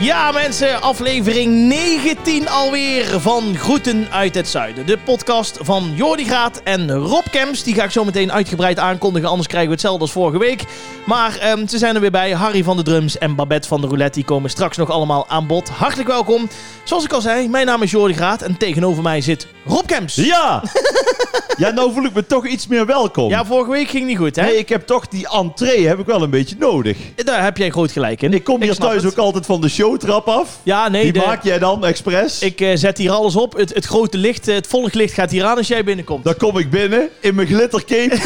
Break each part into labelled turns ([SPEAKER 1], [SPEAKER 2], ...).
[SPEAKER 1] Ja mensen, aflevering 19 alweer van Groeten uit het Zuiden. De podcast van Jordi Graat en Rob Kemps. Die ga ik zo meteen uitgebreid aankondigen, anders krijgen we hetzelfde als vorige week. Maar ehm, ze zijn er weer bij. Harry van de Drums en Babette van de Roulette, die komen straks nog allemaal aan bod. Hartelijk welkom. Zoals ik al zei, mijn naam is Jordi Graat en tegenover mij zit Rob Kemps.
[SPEAKER 2] Ja! ja, nou voel ik me toch iets meer welkom.
[SPEAKER 1] Ja, vorige week ging niet goed hè?
[SPEAKER 2] Hey, ik heb toch die entree heb ik wel een beetje nodig.
[SPEAKER 1] Daar heb jij groot gelijk in.
[SPEAKER 2] Ik kom hier
[SPEAKER 1] snap
[SPEAKER 2] thuis
[SPEAKER 1] het.
[SPEAKER 2] ook altijd van de showtrap af.
[SPEAKER 1] Ja, nee,
[SPEAKER 2] die
[SPEAKER 1] de-
[SPEAKER 2] maak jij dan expres.
[SPEAKER 1] ik eh, zet hier alles op. Het, het grote licht, eh, het volglicht gaat hier aan als jij binnenkomt.
[SPEAKER 2] Dan kom ik binnen in mijn glittercape.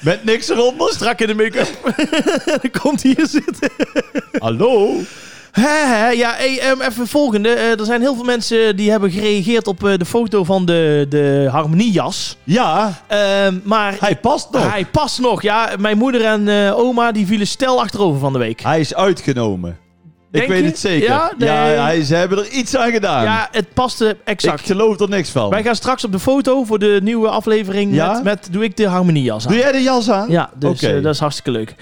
[SPEAKER 2] Met niks eronder.
[SPEAKER 1] Strak in de make-up. Dan komt hij hier zitten.
[SPEAKER 2] Hallo?
[SPEAKER 1] Hè, hè, ja, hey, ehm, even het volgende. Eh, er zijn heel veel mensen die hebben gereageerd op eh, de foto van de, de harmoniejas.
[SPEAKER 2] Ja,
[SPEAKER 1] Ehm, maar
[SPEAKER 2] hij past nog. Hij,
[SPEAKER 1] hij past nog. Ja, mijn moeder en eh, oma die vielen stel achterover van de week.
[SPEAKER 2] is uitgenomen.
[SPEAKER 1] Denk
[SPEAKER 2] ik weet
[SPEAKER 1] je?
[SPEAKER 2] het zeker.
[SPEAKER 1] Ja? Nee.
[SPEAKER 2] hij, ze hebben er iets aan gedaan.
[SPEAKER 1] Ja, het paste exact.
[SPEAKER 2] ik geloof er niks van.
[SPEAKER 1] Wij gaan straks op de foto voor de nieuwe aflevering
[SPEAKER 2] Ja?
[SPEAKER 1] met, met doe ik de harmoniejas aan.
[SPEAKER 2] Doe jij de jas aan?
[SPEAKER 1] Ja, dus
[SPEAKER 2] Oké.
[SPEAKER 1] eh, dat is hartstikke leuk.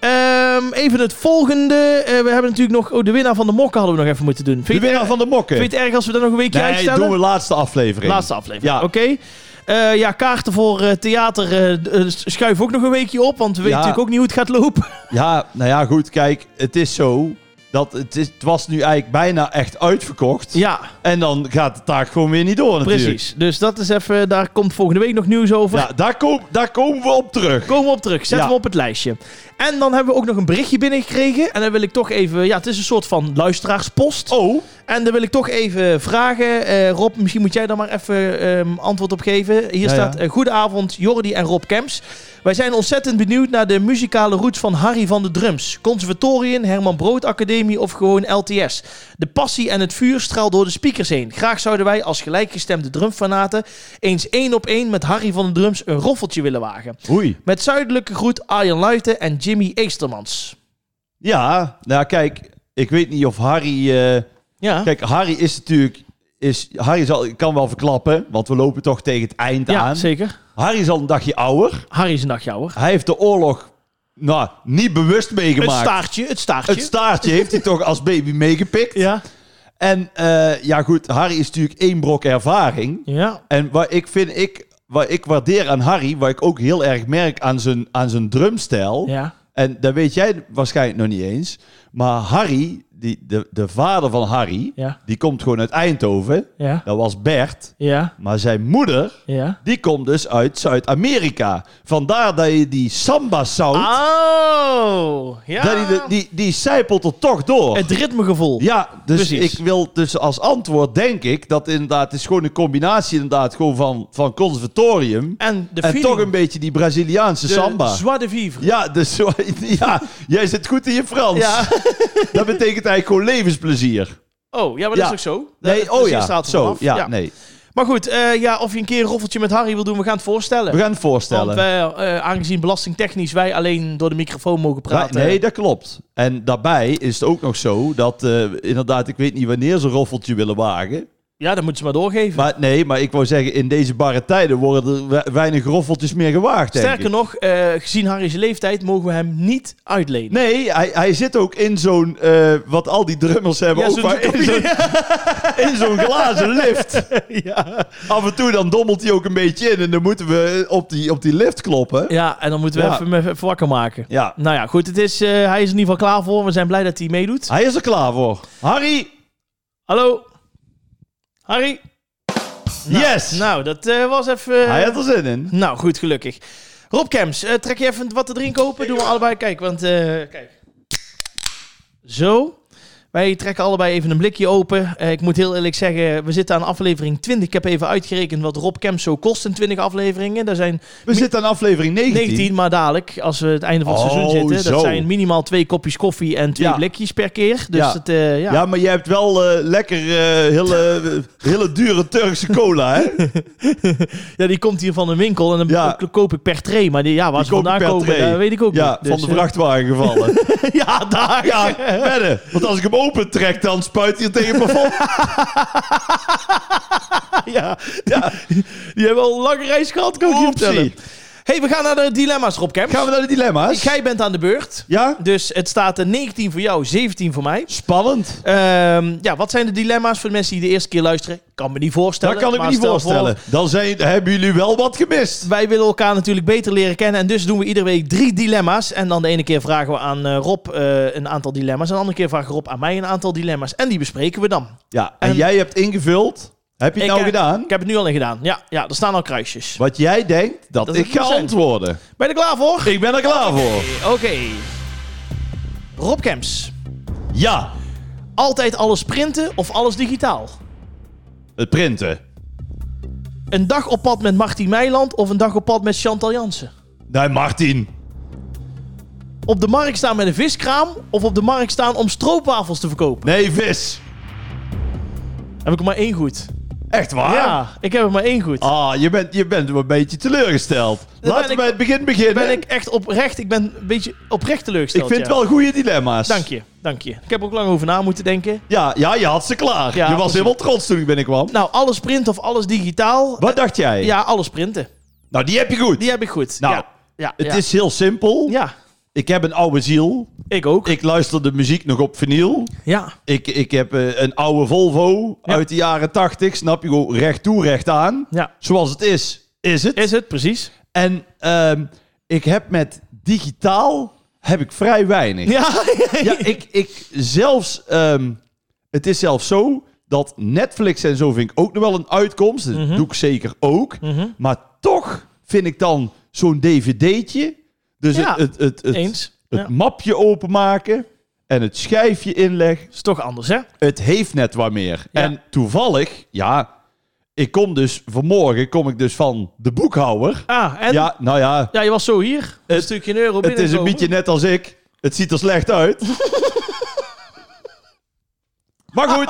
[SPEAKER 1] Ehm, even het volgende. Eh, we hebben natuurlijk nog... Oh, de winnaar van de mokken hadden we nog even moeten doen. Vind je
[SPEAKER 2] De
[SPEAKER 1] het
[SPEAKER 2] winnaar van de mokken.
[SPEAKER 1] Vind je het erg als we dat nog een weekje
[SPEAKER 2] Nee,
[SPEAKER 1] uitstellen?
[SPEAKER 2] doen we laatste aflevering.
[SPEAKER 1] Laatste aflevering.
[SPEAKER 2] Ja.
[SPEAKER 1] Oké. Eh, ja, kaarten voor eh, theater eh, eh, schuif ook nog een weekje op, want we weten
[SPEAKER 2] Ja.
[SPEAKER 1] natuurlijk ook niet hoe het gaat lopen.
[SPEAKER 2] Ja, nou ja, goed, kijk, het is zo dat het, is, het was nu eigenlijk bijna echt uitverkocht.
[SPEAKER 1] Ja,
[SPEAKER 2] En dan gaat de taak gewoon weer niet door natuurlijk.
[SPEAKER 1] precies. Dus dat is even, daar komt volgende week nog nieuws over.
[SPEAKER 2] Ja, daar, kom, daar komen we op terug.
[SPEAKER 1] Komen we op terug, zetten
[SPEAKER 2] Ja.
[SPEAKER 1] we op het lijstje. En dan hebben we ook nog een berichtje binnengekregen. En dan wil ik toch even, ja, het is een soort van luisteraarspost.
[SPEAKER 2] Oh,
[SPEAKER 1] En dan wil ik toch even vragen, eh, Rob, misschien moet jij daar maar even ehm, antwoord op geven. Hier
[SPEAKER 2] Ja,
[SPEAKER 1] staat,
[SPEAKER 2] ja.
[SPEAKER 1] eh, goedenavond Jordi en Rob Kemps. Wij zijn ontzettend benieuwd naar de muzikale roots van Harry van de Drums. Conservatorium, Herman Brood Academie of gewoon LTS. De passie en het vuur straalt door de speakers heen. Graag zouden wij als gelijkgestemde drumfanaten eens één op één met Harry van de Drums een roffeltje willen wagen.
[SPEAKER 2] oei.
[SPEAKER 1] Met zuidelijke groet Arjen Luiten en Jimmy Eestermans.
[SPEAKER 2] Ja, nou kijk, ik weet niet of Harry... eh,
[SPEAKER 1] Ja,
[SPEAKER 2] kijk, Harry is natuurlijk... Is, Harry zal, ik kan wel verklappen, want we lopen toch tegen het eind
[SPEAKER 1] ja
[SPEAKER 2] aan.
[SPEAKER 1] zeker.
[SPEAKER 2] Harry is al een dagje ouder.
[SPEAKER 1] Harry is een nachtjouwer.
[SPEAKER 2] Hij heeft de oorlog nou, niet bewust
[SPEAKER 1] Het
[SPEAKER 2] meegemaakt.
[SPEAKER 1] staartje, het staartje.
[SPEAKER 2] Het staartje heeft hij toch als baby meegepikt.
[SPEAKER 1] ja.
[SPEAKER 2] En eh, ja, goed, Harry is natuurlijk één brok ervaring.
[SPEAKER 1] Ja,
[SPEAKER 2] En wat ik vind, ik, wat ik waardeer aan Harry, wat ik ook heel erg merk aan zijn, aan zijn drumstijl.
[SPEAKER 1] ja.
[SPEAKER 2] En dat weet jij waarschijnlijk nog niet eens. Maar Harry, die, de, de vader van Harry,
[SPEAKER 1] Ja,
[SPEAKER 2] die komt gewoon uit Eindhoven.
[SPEAKER 1] ja,
[SPEAKER 2] Dat was Bert.
[SPEAKER 1] ja,
[SPEAKER 2] Maar zijn moeder,
[SPEAKER 1] ja.
[SPEAKER 2] die komt dus uit Zuid-Amerika. Vandaar dat je die samba-sound,
[SPEAKER 1] Oh, Ah, ja.
[SPEAKER 2] dat die, de- die, die zijpelt er toch door.
[SPEAKER 1] Het ritmegevoel.
[SPEAKER 2] Ja, dus
[SPEAKER 1] Precies.
[SPEAKER 2] ik wil dus als antwoord denk ik dat inderdaad het is gewoon een combinatie inderdaad gewoon van, van conservatorium
[SPEAKER 1] En de
[SPEAKER 2] en
[SPEAKER 1] feeling.
[SPEAKER 2] toch een beetje die Braziliaanse
[SPEAKER 1] de
[SPEAKER 2] samba.
[SPEAKER 1] Joie de vivre.
[SPEAKER 2] Ja, dus zo- ja, jij zit goed in je Frans.
[SPEAKER 1] Ja.
[SPEAKER 2] Dat betekent eigenlijk gewoon levensplezier.
[SPEAKER 1] Oh, ja, maar dat is
[SPEAKER 2] Ja.
[SPEAKER 1] ook zo.
[SPEAKER 2] Nee,
[SPEAKER 1] Dat-
[SPEAKER 2] oh
[SPEAKER 1] dus
[SPEAKER 2] ja,
[SPEAKER 1] hier staat het
[SPEAKER 2] zo,
[SPEAKER 1] vanaf.
[SPEAKER 2] ja, nee.
[SPEAKER 1] Maar goed, eh, ja, of je een keer een roffeltje met Harry wil doen, we gaan het voorstellen.
[SPEAKER 2] We gaan het voorstellen.
[SPEAKER 1] Want wij, eh, aangezien belastingtechnisch wij alleen door de microfoon mogen praten.
[SPEAKER 2] Wij- nee, dat klopt. En daarbij is het ook nog zo dat eh, inderdaad, ik weet niet wanneer ze een roffeltje willen wagen.
[SPEAKER 1] Ja, dat moeten ze maar doorgeven.
[SPEAKER 2] Maar nee, maar ik wou zeggen, in deze barre tijden worden er we- weinig roffeltjes meer gewaagd. denk ik.
[SPEAKER 1] Sterker nog, eh, gezien Harry's leeftijd mogen we hem niet uitlenen.
[SPEAKER 2] Nee, hij, hij zit ook in zo'n, eh, wat al die drummers hebben,
[SPEAKER 1] Ja,
[SPEAKER 2] ook
[SPEAKER 1] zo'n-
[SPEAKER 2] maar in zo'n in zo'n glazen lift.
[SPEAKER 1] ja.
[SPEAKER 2] Af en toe dan dommelt hij ook een beetje in en dan moeten we op die, op die lift kloppen. Ja,
[SPEAKER 1] ja, en dan moeten we
[SPEAKER 2] Ja.
[SPEAKER 1] even, even wakker maken. Nou ja, goed. Het is, eh, hij is in ieder geval klaar voor. We zijn blij dat hij meedoet.
[SPEAKER 2] hij is er klaar voor. Harry,
[SPEAKER 1] Hallo? Harry?
[SPEAKER 2] yes!
[SPEAKER 1] Nou, dat eh, was even... eh,
[SPEAKER 2] hij had er zin in.
[SPEAKER 1] Nou, goed, gelukkig. Rob Kems, eh, trek je even wat te drinken open? Doen we allebei. Kijk, want... eh, kijk. Zo. Wij trekken allebei even een blikje open. Eh, ik moet heel eerlijk zeggen, we zitten aan aflevering 20. Ik heb even uitgerekend wat Rob Kems zo kost in 20 afleveringen. Daar zijn
[SPEAKER 2] We zitten aan aflevering 19.
[SPEAKER 1] 19, maar dadelijk, als we het einde van het
[SPEAKER 2] Oh,
[SPEAKER 1] seizoen zitten. Dat
[SPEAKER 2] zo.
[SPEAKER 1] zijn minimaal twee kopjes koffie en twee
[SPEAKER 2] Ja.
[SPEAKER 1] blikjes per keer. Dus
[SPEAKER 2] Ja.
[SPEAKER 1] het, eh,
[SPEAKER 2] Ja.
[SPEAKER 1] ja.
[SPEAKER 2] maar jij hebt wel eh, lekker eh, hele, hele dure Turkse cola, hè?
[SPEAKER 1] Ja, die komt hier van een winkel en dan
[SPEAKER 2] Ja.
[SPEAKER 1] k- koop ik per tray. Maar die, ja, waar
[SPEAKER 2] Die
[SPEAKER 1] ze
[SPEAKER 2] koop ik
[SPEAKER 1] vandaan
[SPEAKER 2] per
[SPEAKER 1] komen,
[SPEAKER 2] tray.
[SPEAKER 1] dat weet ik ook
[SPEAKER 2] Ja,
[SPEAKER 1] niet.
[SPEAKER 2] van
[SPEAKER 1] Dus,
[SPEAKER 2] de vrachtwagen gevallen.
[SPEAKER 1] eh, ja, daar.
[SPEAKER 2] Ja, wedden. Want als ik hem open trek, dan spuit hij er tegen mijn vol.
[SPEAKER 1] ja. Die hebben al een lange reis gehad, kan ik je vertellen.
[SPEAKER 2] Oepsie.
[SPEAKER 1] hey, we gaan naar de dilemma's, Rob Kemps.
[SPEAKER 2] Gaan we naar de dilemma's?
[SPEAKER 1] Jij bent aan de beurt.
[SPEAKER 2] Ja?
[SPEAKER 1] Dus het staat eh, 19 voor jou, 17 voor mij.
[SPEAKER 2] Spannend.
[SPEAKER 1] Ehm, ja, wat zijn de dilemma's voor de mensen die de eerste keer luisteren? Kan me niet voorstellen.
[SPEAKER 2] Dat kan ik me
[SPEAKER 1] maar
[SPEAKER 2] niet
[SPEAKER 1] stel voor,
[SPEAKER 2] voorstellen. Dan zijn, hebben jullie wel wat gemist.
[SPEAKER 1] Wij willen elkaar natuurlijk beter leren kennen. En dus doen we iedere week drie dilemma's. En dan de ene keer vragen we aan eh, Rob eh, een aantal dilemma's. En de andere keer vraagt Rob aan mij een aantal dilemma's. En die bespreken we dan.
[SPEAKER 2] Ja, en,
[SPEAKER 1] En-
[SPEAKER 2] jij hebt ingevuld. Heb je het
[SPEAKER 1] Ik
[SPEAKER 2] nou
[SPEAKER 1] heb-
[SPEAKER 2] gedaan?
[SPEAKER 1] Ik heb het nu al in gedaan. Ja, ja er staan al kruisjes.
[SPEAKER 2] Wat jij denkt dat,
[SPEAKER 1] Dat
[SPEAKER 2] ik
[SPEAKER 1] het moet
[SPEAKER 2] ga
[SPEAKER 1] zijn.
[SPEAKER 2] antwoorden.
[SPEAKER 1] Ben je er klaar voor?
[SPEAKER 2] Ik ben er klaar voor.
[SPEAKER 1] Oké. Rob Kemps.
[SPEAKER 2] Ja,
[SPEAKER 1] Altijd alles printen of alles digitaal?
[SPEAKER 2] het printen.
[SPEAKER 1] Een dag op pad met Martin Meiland of een dag op pad met Chantal Jansen?
[SPEAKER 2] Nee, Martin.
[SPEAKER 1] Op de markt staan met een viskraam of op de markt staan om stroopwafels te verkopen?
[SPEAKER 2] Nee, vis.
[SPEAKER 1] Heb ik er maar één goed.
[SPEAKER 2] Echt waar?
[SPEAKER 1] Ja, ik heb er maar één goed.
[SPEAKER 2] Ah, je bent, je bent wel een beetje teleurgesteld.
[SPEAKER 1] ben
[SPEAKER 2] Laten we
[SPEAKER 1] ik-
[SPEAKER 2] bij het begin beginnen.
[SPEAKER 1] Ben ik echt oprecht, ik ben een beetje oprecht
[SPEAKER 2] ik
[SPEAKER 1] teleurgesteld.
[SPEAKER 2] vind
[SPEAKER 1] ja.
[SPEAKER 2] wel goede dilemma's.
[SPEAKER 1] Dank je, dank je. Ik heb er ook lang over na moeten denken.
[SPEAKER 2] Ja, ja je had ze klaar.
[SPEAKER 1] Ja,
[SPEAKER 2] je was
[SPEAKER 1] precies.
[SPEAKER 2] helemaal trots toen ik binnenkwam.
[SPEAKER 1] Nou, alles print of alles digitaal?
[SPEAKER 2] Wat dacht jij?
[SPEAKER 1] Ja, alles printen.
[SPEAKER 2] Nou, die heb je goed.
[SPEAKER 1] Die heb ik goed.
[SPEAKER 2] Nou,
[SPEAKER 1] ja. Ja,
[SPEAKER 2] Het
[SPEAKER 1] ja.
[SPEAKER 2] is heel simpel.
[SPEAKER 1] ja,
[SPEAKER 2] Ik heb een oude ziel.
[SPEAKER 1] ik ook.
[SPEAKER 2] Ik luister de muziek nog op vinyl.
[SPEAKER 1] Ja.
[SPEAKER 2] Ik, ik heb eh, een oude Volvo
[SPEAKER 1] Ja.
[SPEAKER 2] uit de jaren 80. Snap je? Gewoon recht toe, recht aan.
[SPEAKER 1] ja,
[SPEAKER 2] Zoals het is, is het.
[SPEAKER 1] is het precies.
[SPEAKER 2] En ehm, ik heb met digitaal heb ik vrij weinig.
[SPEAKER 1] Ja,
[SPEAKER 2] Ja, ik, ik zelfs. ehm, het is zelfs zo dat Netflix en zo vind ik ook nog wel een uitkomst. Dat doe ik zeker ook.
[SPEAKER 1] Mhm.
[SPEAKER 2] Maar toch vind ik dan zo'n dvd'tje. Dus
[SPEAKER 1] Ja,
[SPEAKER 2] het, het, het, het,
[SPEAKER 1] eens.
[SPEAKER 2] het
[SPEAKER 1] Ja.
[SPEAKER 2] mapje openmaken en het schijfje inleg.
[SPEAKER 1] Is toch anders, hè?
[SPEAKER 2] Het heeft net wat meer.
[SPEAKER 1] Ja.
[SPEAKER 2] En toevallig, ja. Ik kom dus vanmorgen kom ik dus van de boekhouder.
[SPEAKER 1] Ah, en?
[SPEAKER 2] Ja, nou ja,
[SPEAKER 1] Ja, je was zo hier. Een
[SPEAKER 2] Het-
[SPEAKER 1] stukje een euro
[SPEAKER 2] het is een
[SPEAKER 1] binnenkomen.
[SPEAKER 2] beetje net als ik. Het ziet er slecht uit. maar goed,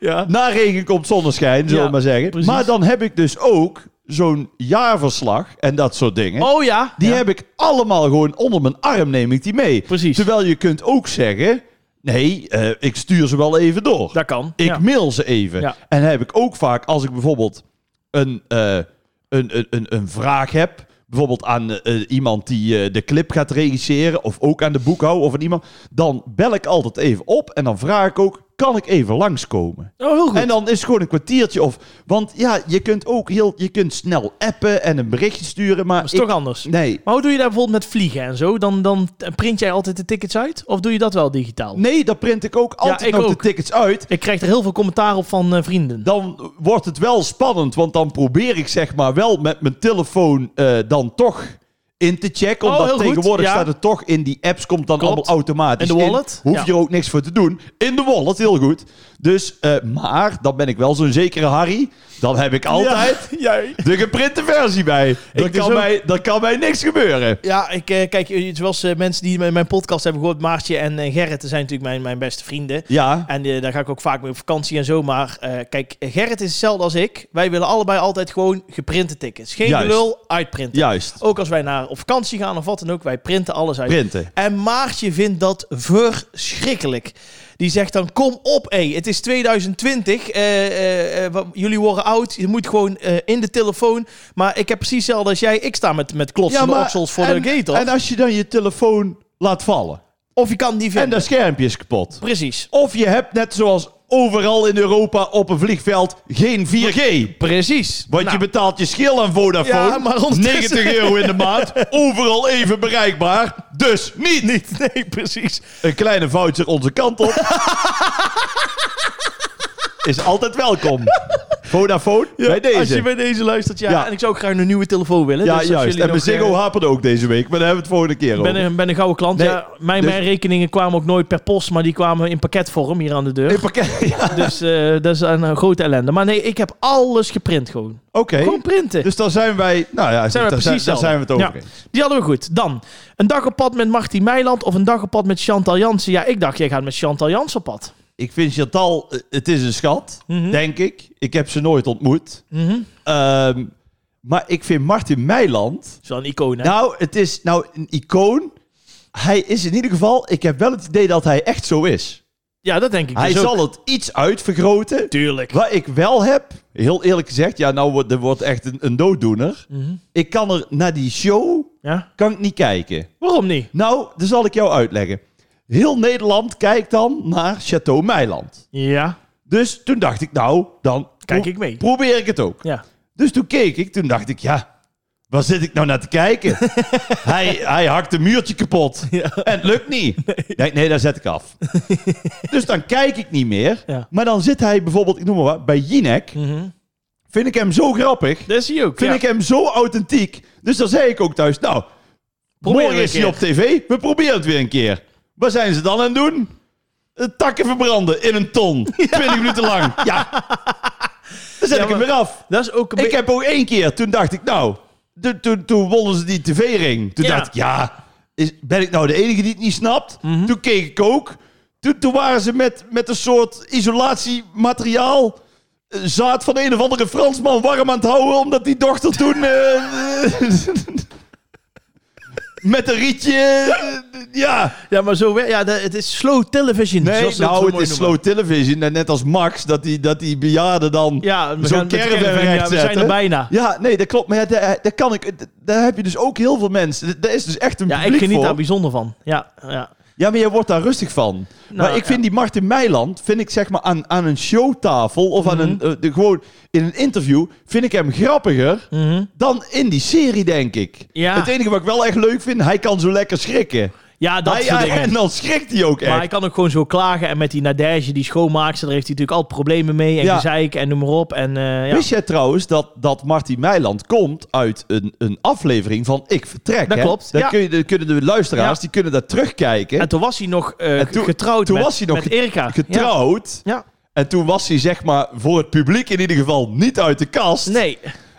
[SPEAKER 1] Ja.
[SPEAKER 2] na regen komt zonneschijn, zullen we
[SPEAKER 1] Ja,
[SPEAKER 2] maar zeggen.
[SPEAKER 1] precies.
[SPEAKER 2] Maar dan heb ik dus ook zo'n jaarverslag en dat soort dingen.
[SPEAKER 1] Oh ja.
[SPEAKER 2] Die
[SPEAKER 1] ja.
[SPEAKER 2] heb ik allemaal gewoon onder mijn arm, neem ik die mee.
[SPEAKER 1] Precies.
[SPEAKER 2] Terwijl je kunt ook zeggen, nee, eh, ik stuur ze wel even door.
[SPEAKER 1] Dat kan.
[SPEAKER 2] Ik
[SPEAKER 1] ja.
[SPEAKER 2] mail ze even.
[SPEAKER 1] Ja.
[SPEAKER 2] En heb ik ook vaak, als ik bijvoorbeeld een, eh, een, een, een, een vraag heb. Bijvoorbeeld aan eh, eh, iemand die eh, de clip gaat regisseren. Of ook aan de boekhouder of aan iemand. Dan bel ik altijd even op. En dan vraag ik ook, kan ik even langskomen?
[SPEAKER 1] Oh, heel goed.
[SPEAKER 2] En dan is het gewoon een kwartiertje of... Want ja, je kunt ook heel... Je kunt snel appen en een berichtje sturen, maar...
[SPEAKER 1] dat is
[SPEAKER 2] ik-
[SPEAKER 1] toch anders.
[SPEAKER 2] Nee.
[SPEAKER 1] Maar hoe doe je daar bijvoorbeeld met vliegen en zo? Dan, dan print jij altijd de tickets uit? Of doe je dat wel digitaal?
[SPEAKER 2] Nee, dan print ik ook altijd
[SPEAKER 1] ik
[SPEAKER 2] nog
[SPEAKER 1] ook.
[SPEAKER 2] de tickets uit.
[SPEAKER 1] Ik krijg er heel veel commentaar op van eh, vrienden.
[SPEAKER 2] dan wordt het wel spannend. Want dan probeer ik zeg maar wel met mijn telefoon eh, dan toch in te checken.
[SPEAKER 1] Oh,
[SPEAKER 2] Omdat
[SPEAKER 1] heel goed,
[SPEAKER 2] tegenwoordig
[SPEAKER 1] ja.
[SPEAKER 2] staat het toch in die apps. Komt dan
[SPEAKER 1] Klopt.
[SPEAKER 2] allemaal automatisch
[SPEAKER 1] In de wallet,
[SPEAKER 2] in. Hoef
[SPEAKER 1] ja.
[SPEAKER 2] je er ook niks voor te doen. In de wallet, heel goed. Dus, eh, maar dan ben ik wel zo'n zekere Harry. Dan heb ik altijd
[SPEAKER 1] Ja, jij.
[SPEAKER 2] de geprinte versie bij. Dan
[SPEAKER 1] Ik dus
[SPEAKER 2] kan,
[SPEAKER 1] ook.
[SPEAKER 2] mij, dan kan mij niks gebeuren.
[SPEAKER 1] Ja, ik, eh, kijk, eh, zoals eh, mensen die mijn, mijn podcast hebben gehoord, Maartje en eh, Gerrit zijn natuurlijk mijn, mijn beste vrienden.
[SPEAKER 2] Ja,
[SPEAKER 1] En eh, daar ga ik ook vaak mee op vakantie en zo. Maar eh, kijk, Gerrit is hetzelfde als ik. Wij willen allebei altijd gewoon geprinte tickets. Geen
[SPEAKER 2] Juist.
[SPEAKER 1] gelul, uitprinten.
[SPEAKER 2] juist.
[SPEAKER 1] Ook als wij naar op vakantie gaan of wat dan ook, wij printen alles uit.
[SPEAKER 2] Printen.
[SPEAKER 1] En Maartje vindt dat verschrikkelijk. Die zegt dan, kom op, hé, het is 2020. eh, eh, eh, wat- jullie worden oud. Je moet gewoon eh, in de telefoon. Maar ik heb precies hetzelfde als jij. Ik sta met, met klotsende oksels voor
[SPEAKER 2] en,
[SPEAKER 1] de gate. af.
[SPEAKER 2] En als je dan je telefoon laat vallen.
[SPEAKER 1] of je kan die
[SPEAKER 2] En
[SPEAKER 1] vinden.
[SPEAKER 2] dat schermpje is kapot.
[SPEAKER 1] Precies.
[SPEAKER 2] Of je hebt net zoals overal in Europa op een vliegveld geen 4G.
[SPEAKER 1] Precies.
[SPEAKER 2] Want
[SPEAKER 1] Nou,
[SPEAKER 2] je betaalt je schil aan Vodafone.
[SPEAKER 1] Ja, maar ondertussen-
[SPEAKER 2] 90 euro in de maand. Overal even bereikbaar. Dus niet.
[SPEAKER 1] niet. Nee, precies.
[SPEAKER 2] Een kleine voucher onze kant op. Is altijd welkom. Vodafone, bij
[SPEAKER 1] Als je
[SPEAKER 2] deze.
[SPEAKER 1] bij deze luistert, ja.
[SPEAKER 2] Ja.
[SPEAKER 1] En ik zou ook graag een nieuwe telefoon willen.
[SPEAKER 2] Ja,
[SPEAKER 1] dus als
[SPEAKER 2] juist.
[SPEAKER 1] jullie
[SPEAKER 2] En
[SPEAKER 1] nog,
[SPEAKER 2] mijn Ziggo
[SPEAKER 1] eh,
[SPEAKER 2] haperde ook deze week. Maar daar hebben we het volgende keer
[SPEAKER 1] ben
[SPEAKER 2] over.
[SPEAKER 1] een, ben een gouden klant.
[SPEAKER 2] Nee,
[SPEAKER 1] ja, mijn,
[SPEAKER 2] dus-
[SPEAKER 1] mijn rekeningen kwamen ook nooit per post, maar die kwamen in pakketvorm hier aan de deur.
[SPEAKER 2] In pakket. Ja,
[SPEAKER 1] Dus eh, dat is een eh, grote ellende. Maar nee, ik heb alles geprint gewoon.
[SPEAKER 2] Oké.
[SPEAKER 1] Gewoon printen.
[SPEAKER 2] Dus dan zijn wij... Nou ja,
[SPEAKER 1] Zijn we
[SPEAKER 2] daar,
[SPEAKER 1] precies
[SPEAKER 2] daar zijn we het over
[SPEAKER 1] hetzelfde. Ja.
[SPEAKER 2] eens.
[SPEAKER 1] Die hadden we goed. Dan, een dag op pad met Martin Meiland of een dag op pad met Chantal Jansen. Ja, ik dacht, jij gaat met Chantal Jansen op pad.
[SPEAKER 2] Ik vind Chantal, eh, het is een schat,
[SPEAKER 1] Mhm.
[SPEAKER 2] denk ik. Ik heb ze nooit ontmoet.
[SPEAKER 1] Mhm.
[SPEAKER 2] Ehm, maar ik vind Martin Meiland.
[SPEAKER 1] Dat is wel een icoon, hè?
[SPEAKER 2] Nou, het is nou een icoon. Hij is in ieder geval. Ik heb wel het idee dat hij echt zo is.
[SPEAKER 1] Ja, dat denk ik
[SPEAKER 2] Hij
[SPEAKER 1] dus ook.
[SPEAKER 2] zal het iets uitvergroten.
[SPEAKER 1] Tuurlijk.
[SPEAKER 2] Wat ik wel heb, heel eerlijk gezegd, ja, nou, wordt- er wordt echt een, een dooddoener.
[SPEAKER 1] Mhm.
[SPEAKER 2] Ik kan er naar die show
[SPEAKER 1] Ja?
[SPEAKER 2] kan ik niet kijken.
[SPEAKER 1] Waarom niet?
[SPEAKER 2] Nou, dat zal ik jou uitleggen. Heel Nederland kijkt dan naar Chateau Meiland.
[SPEAKER 1] Ja.
[SPEAKER 2] Dus toen dacht ik, nou, dan
[SPEAKER 1] Kijk
[SPEAKER 2] pro-
[SPEAKER 1] ik mee.
[SPEAKER 2] probeer ik het ook.
[SPEAKER 1] Ja.
[SPEAKER 2] Dus toen keek ik, toen dacht ik, ja, waar zit ik nou naar te kijken? hij, hij hakt een muurtje kapot.
[SPEAKER 1] Ja.
[SPEAKER 2] En het lukt niet. Nee. nee, daar zet ik af. dus dan kijk ik niet meer.
[SPEAKER 1] Ja.
[SPEAKER 2] Maar dan zit hij bijvoorbeeld, ik noem maar wat, bij Jinek.
[SPEAKER 1] Mhm.
[SPEAKER 2] Vind ik hem zo grappig.
[SPEAKER 1] Dat zie je ook.
[SPEAKER 2] Vind
[SPEAKER 1] ja.
[SPEAKER 2] ik hem zo authentiek. Dus dan zei ik ook thuis, nou,
[SPEAKER 1] Probeer
[SPEAKER 2] morgen
[SPEAKER 1] een
[SPEAKER 2] is hij
[SPEAKER 1] keer.
[SPEAKER 2] op tv. We proberen het weer een keer. Wat zijn ze dan aan het doen? Eh, Takken verbranden in een ton. 20 minuten lang. Ja. Dan zet
[SPEAKER 1] Ja,
[SPEAKER 2] ik hem
[SPEAKER 1] maar-
[SPEAKER 2] weer af.
[SPEAKER 1] Dat is ook een
[SPEAKER 2] Ik
[SPEAKER 1] beetje...
[SPEAKER 2] heb ook één keer, toen dacht ik, nou, toen, toen, toen wonnen ze die tv-ring. Toen
[SPEAKER 1] Ja.
[SPEAKER 2] dacht ik, ja, is, ben ik nou de enige die het niet snapt?
[SPEAKER 1] Mhm.
[SPEAKER 2] Toen keek ik ook. Toen, toen waren ze met, met een soort isolatiemateriaal. eh, Zaad van een of andere Fransman warm aan het houden, omdat die dochter toen. eh, met een rietje. eh, ja.
[SPEAKER 1] Ja, maar zo... wer- Ja, dat- het is slow television.
[SPEAKER 2] Nee,
[SPEAKER 1] zoals ze
[SPEAKER 2] nou,
[SPEAKER 1] zo
[SPEAKER 2] het
[SPEAKER 1] mooi
[SPEAKER 2] is
[SPEAKER 1] noemen.
[SPEAKER 2] slow television. En net als Max, dat die, dat die bejaarden dan
[SPEAKER 1] Ja, Ah, we gaan
[SPEAKER 2] zo'n
[SPEAKER 1] met de
[SPEAKER 2] caravan
[SPEAKER 1] caravan, ja, we
[SPEAKER 2] recht
[SPEAKER 1] zijn er
[SPEAKER 2] zetten.
[SPEAKER 1] bijna.
[SPEAKER 2] Ja, nee, dat klopt. Maar ja, daar, daar kan ik, daar heb je dus ook heel veel mensen. Daar is dus echt een
[SPEAKER 1] Ja, ik
[SPEAKER 2] publiek
[SPEAKER 1] geniet
[SPEAKER 2] voor.
[SPEAKER 1] daar bijzonder van. Ja, ja.
[SPEAKER 2] Ja, maar je wordt daar rustig van. maar ik
[SPEAKER 1] Nou, ja.
[SPEAKER 2] vind die Martin Meiland, vind ik zeg maar aan, aan een showtafel of aan
[SPEAKER 1] Mhm.
[SPEAKER 2] een, eh, de, gewoon in een interview, vind ik hem grappiger
[SPEAKER 1] Mhm.
[SPEAKER 2] dan in die serie, denk ik.
[SPEAKER 1] Ja.
[SPEAKER 2] Het enige wat ik wel echt leuk vind, hij kan zo lekker schrikken.
[SPEAKER 1] Ja, dat
[SPEAKER 2] Hij-
[SPEAKER 1] soort
[SPEAKER 2] hij-
[SPEAKER 1] dingen.
[SPEAKER 2] Ah, en dan schrikt hij ook echt.
[SPEAKER 1] Maar hij kan ook gewoon zo klagen. En met die Nadege, die schoonmaakster, daar heeft hij natuurlijk al problemen mee. En
[SPEAKER 2] Ja.
[SPEAKER 1] gezeik en noem maar op. En, eh, ja.
[SPEAKER 2] Wist jij trouwens dat, dat Martin Meiland komt uit een, een aflevering van Ik Vertrek?
[SPEAKER 1] Dat
[SPEAKER 2] hè?
[SPEAKER 1] klopt,
[SPEAKER 2] Daar
[SPEAKER 1] ja.
[SPEAKER 2] kun je, daar kunnen de luisteraars,
[SPEAKER 1] Ja.
[SPEAKER 2] die kunnen dat terugkijken.
[SPEAKER 1] en toen was hij nog eh,
[SPEAKER 2] En toen-
[SPEAKER 1] getrouwd
[SPEAKER 2] toen
[SPEAKER 1] met,
[SPEAKER 2] was hij nog
[SPEAKER 1] met Erika.
[SPEAKER 2] Getrouwd.
[SPEAKER 1] Ja.
[SPEAKER 2] En toen was hij zeg maar voor het publiek in ieder geval niet uit de kast.
[SPEAKER 1] Ja. Nee,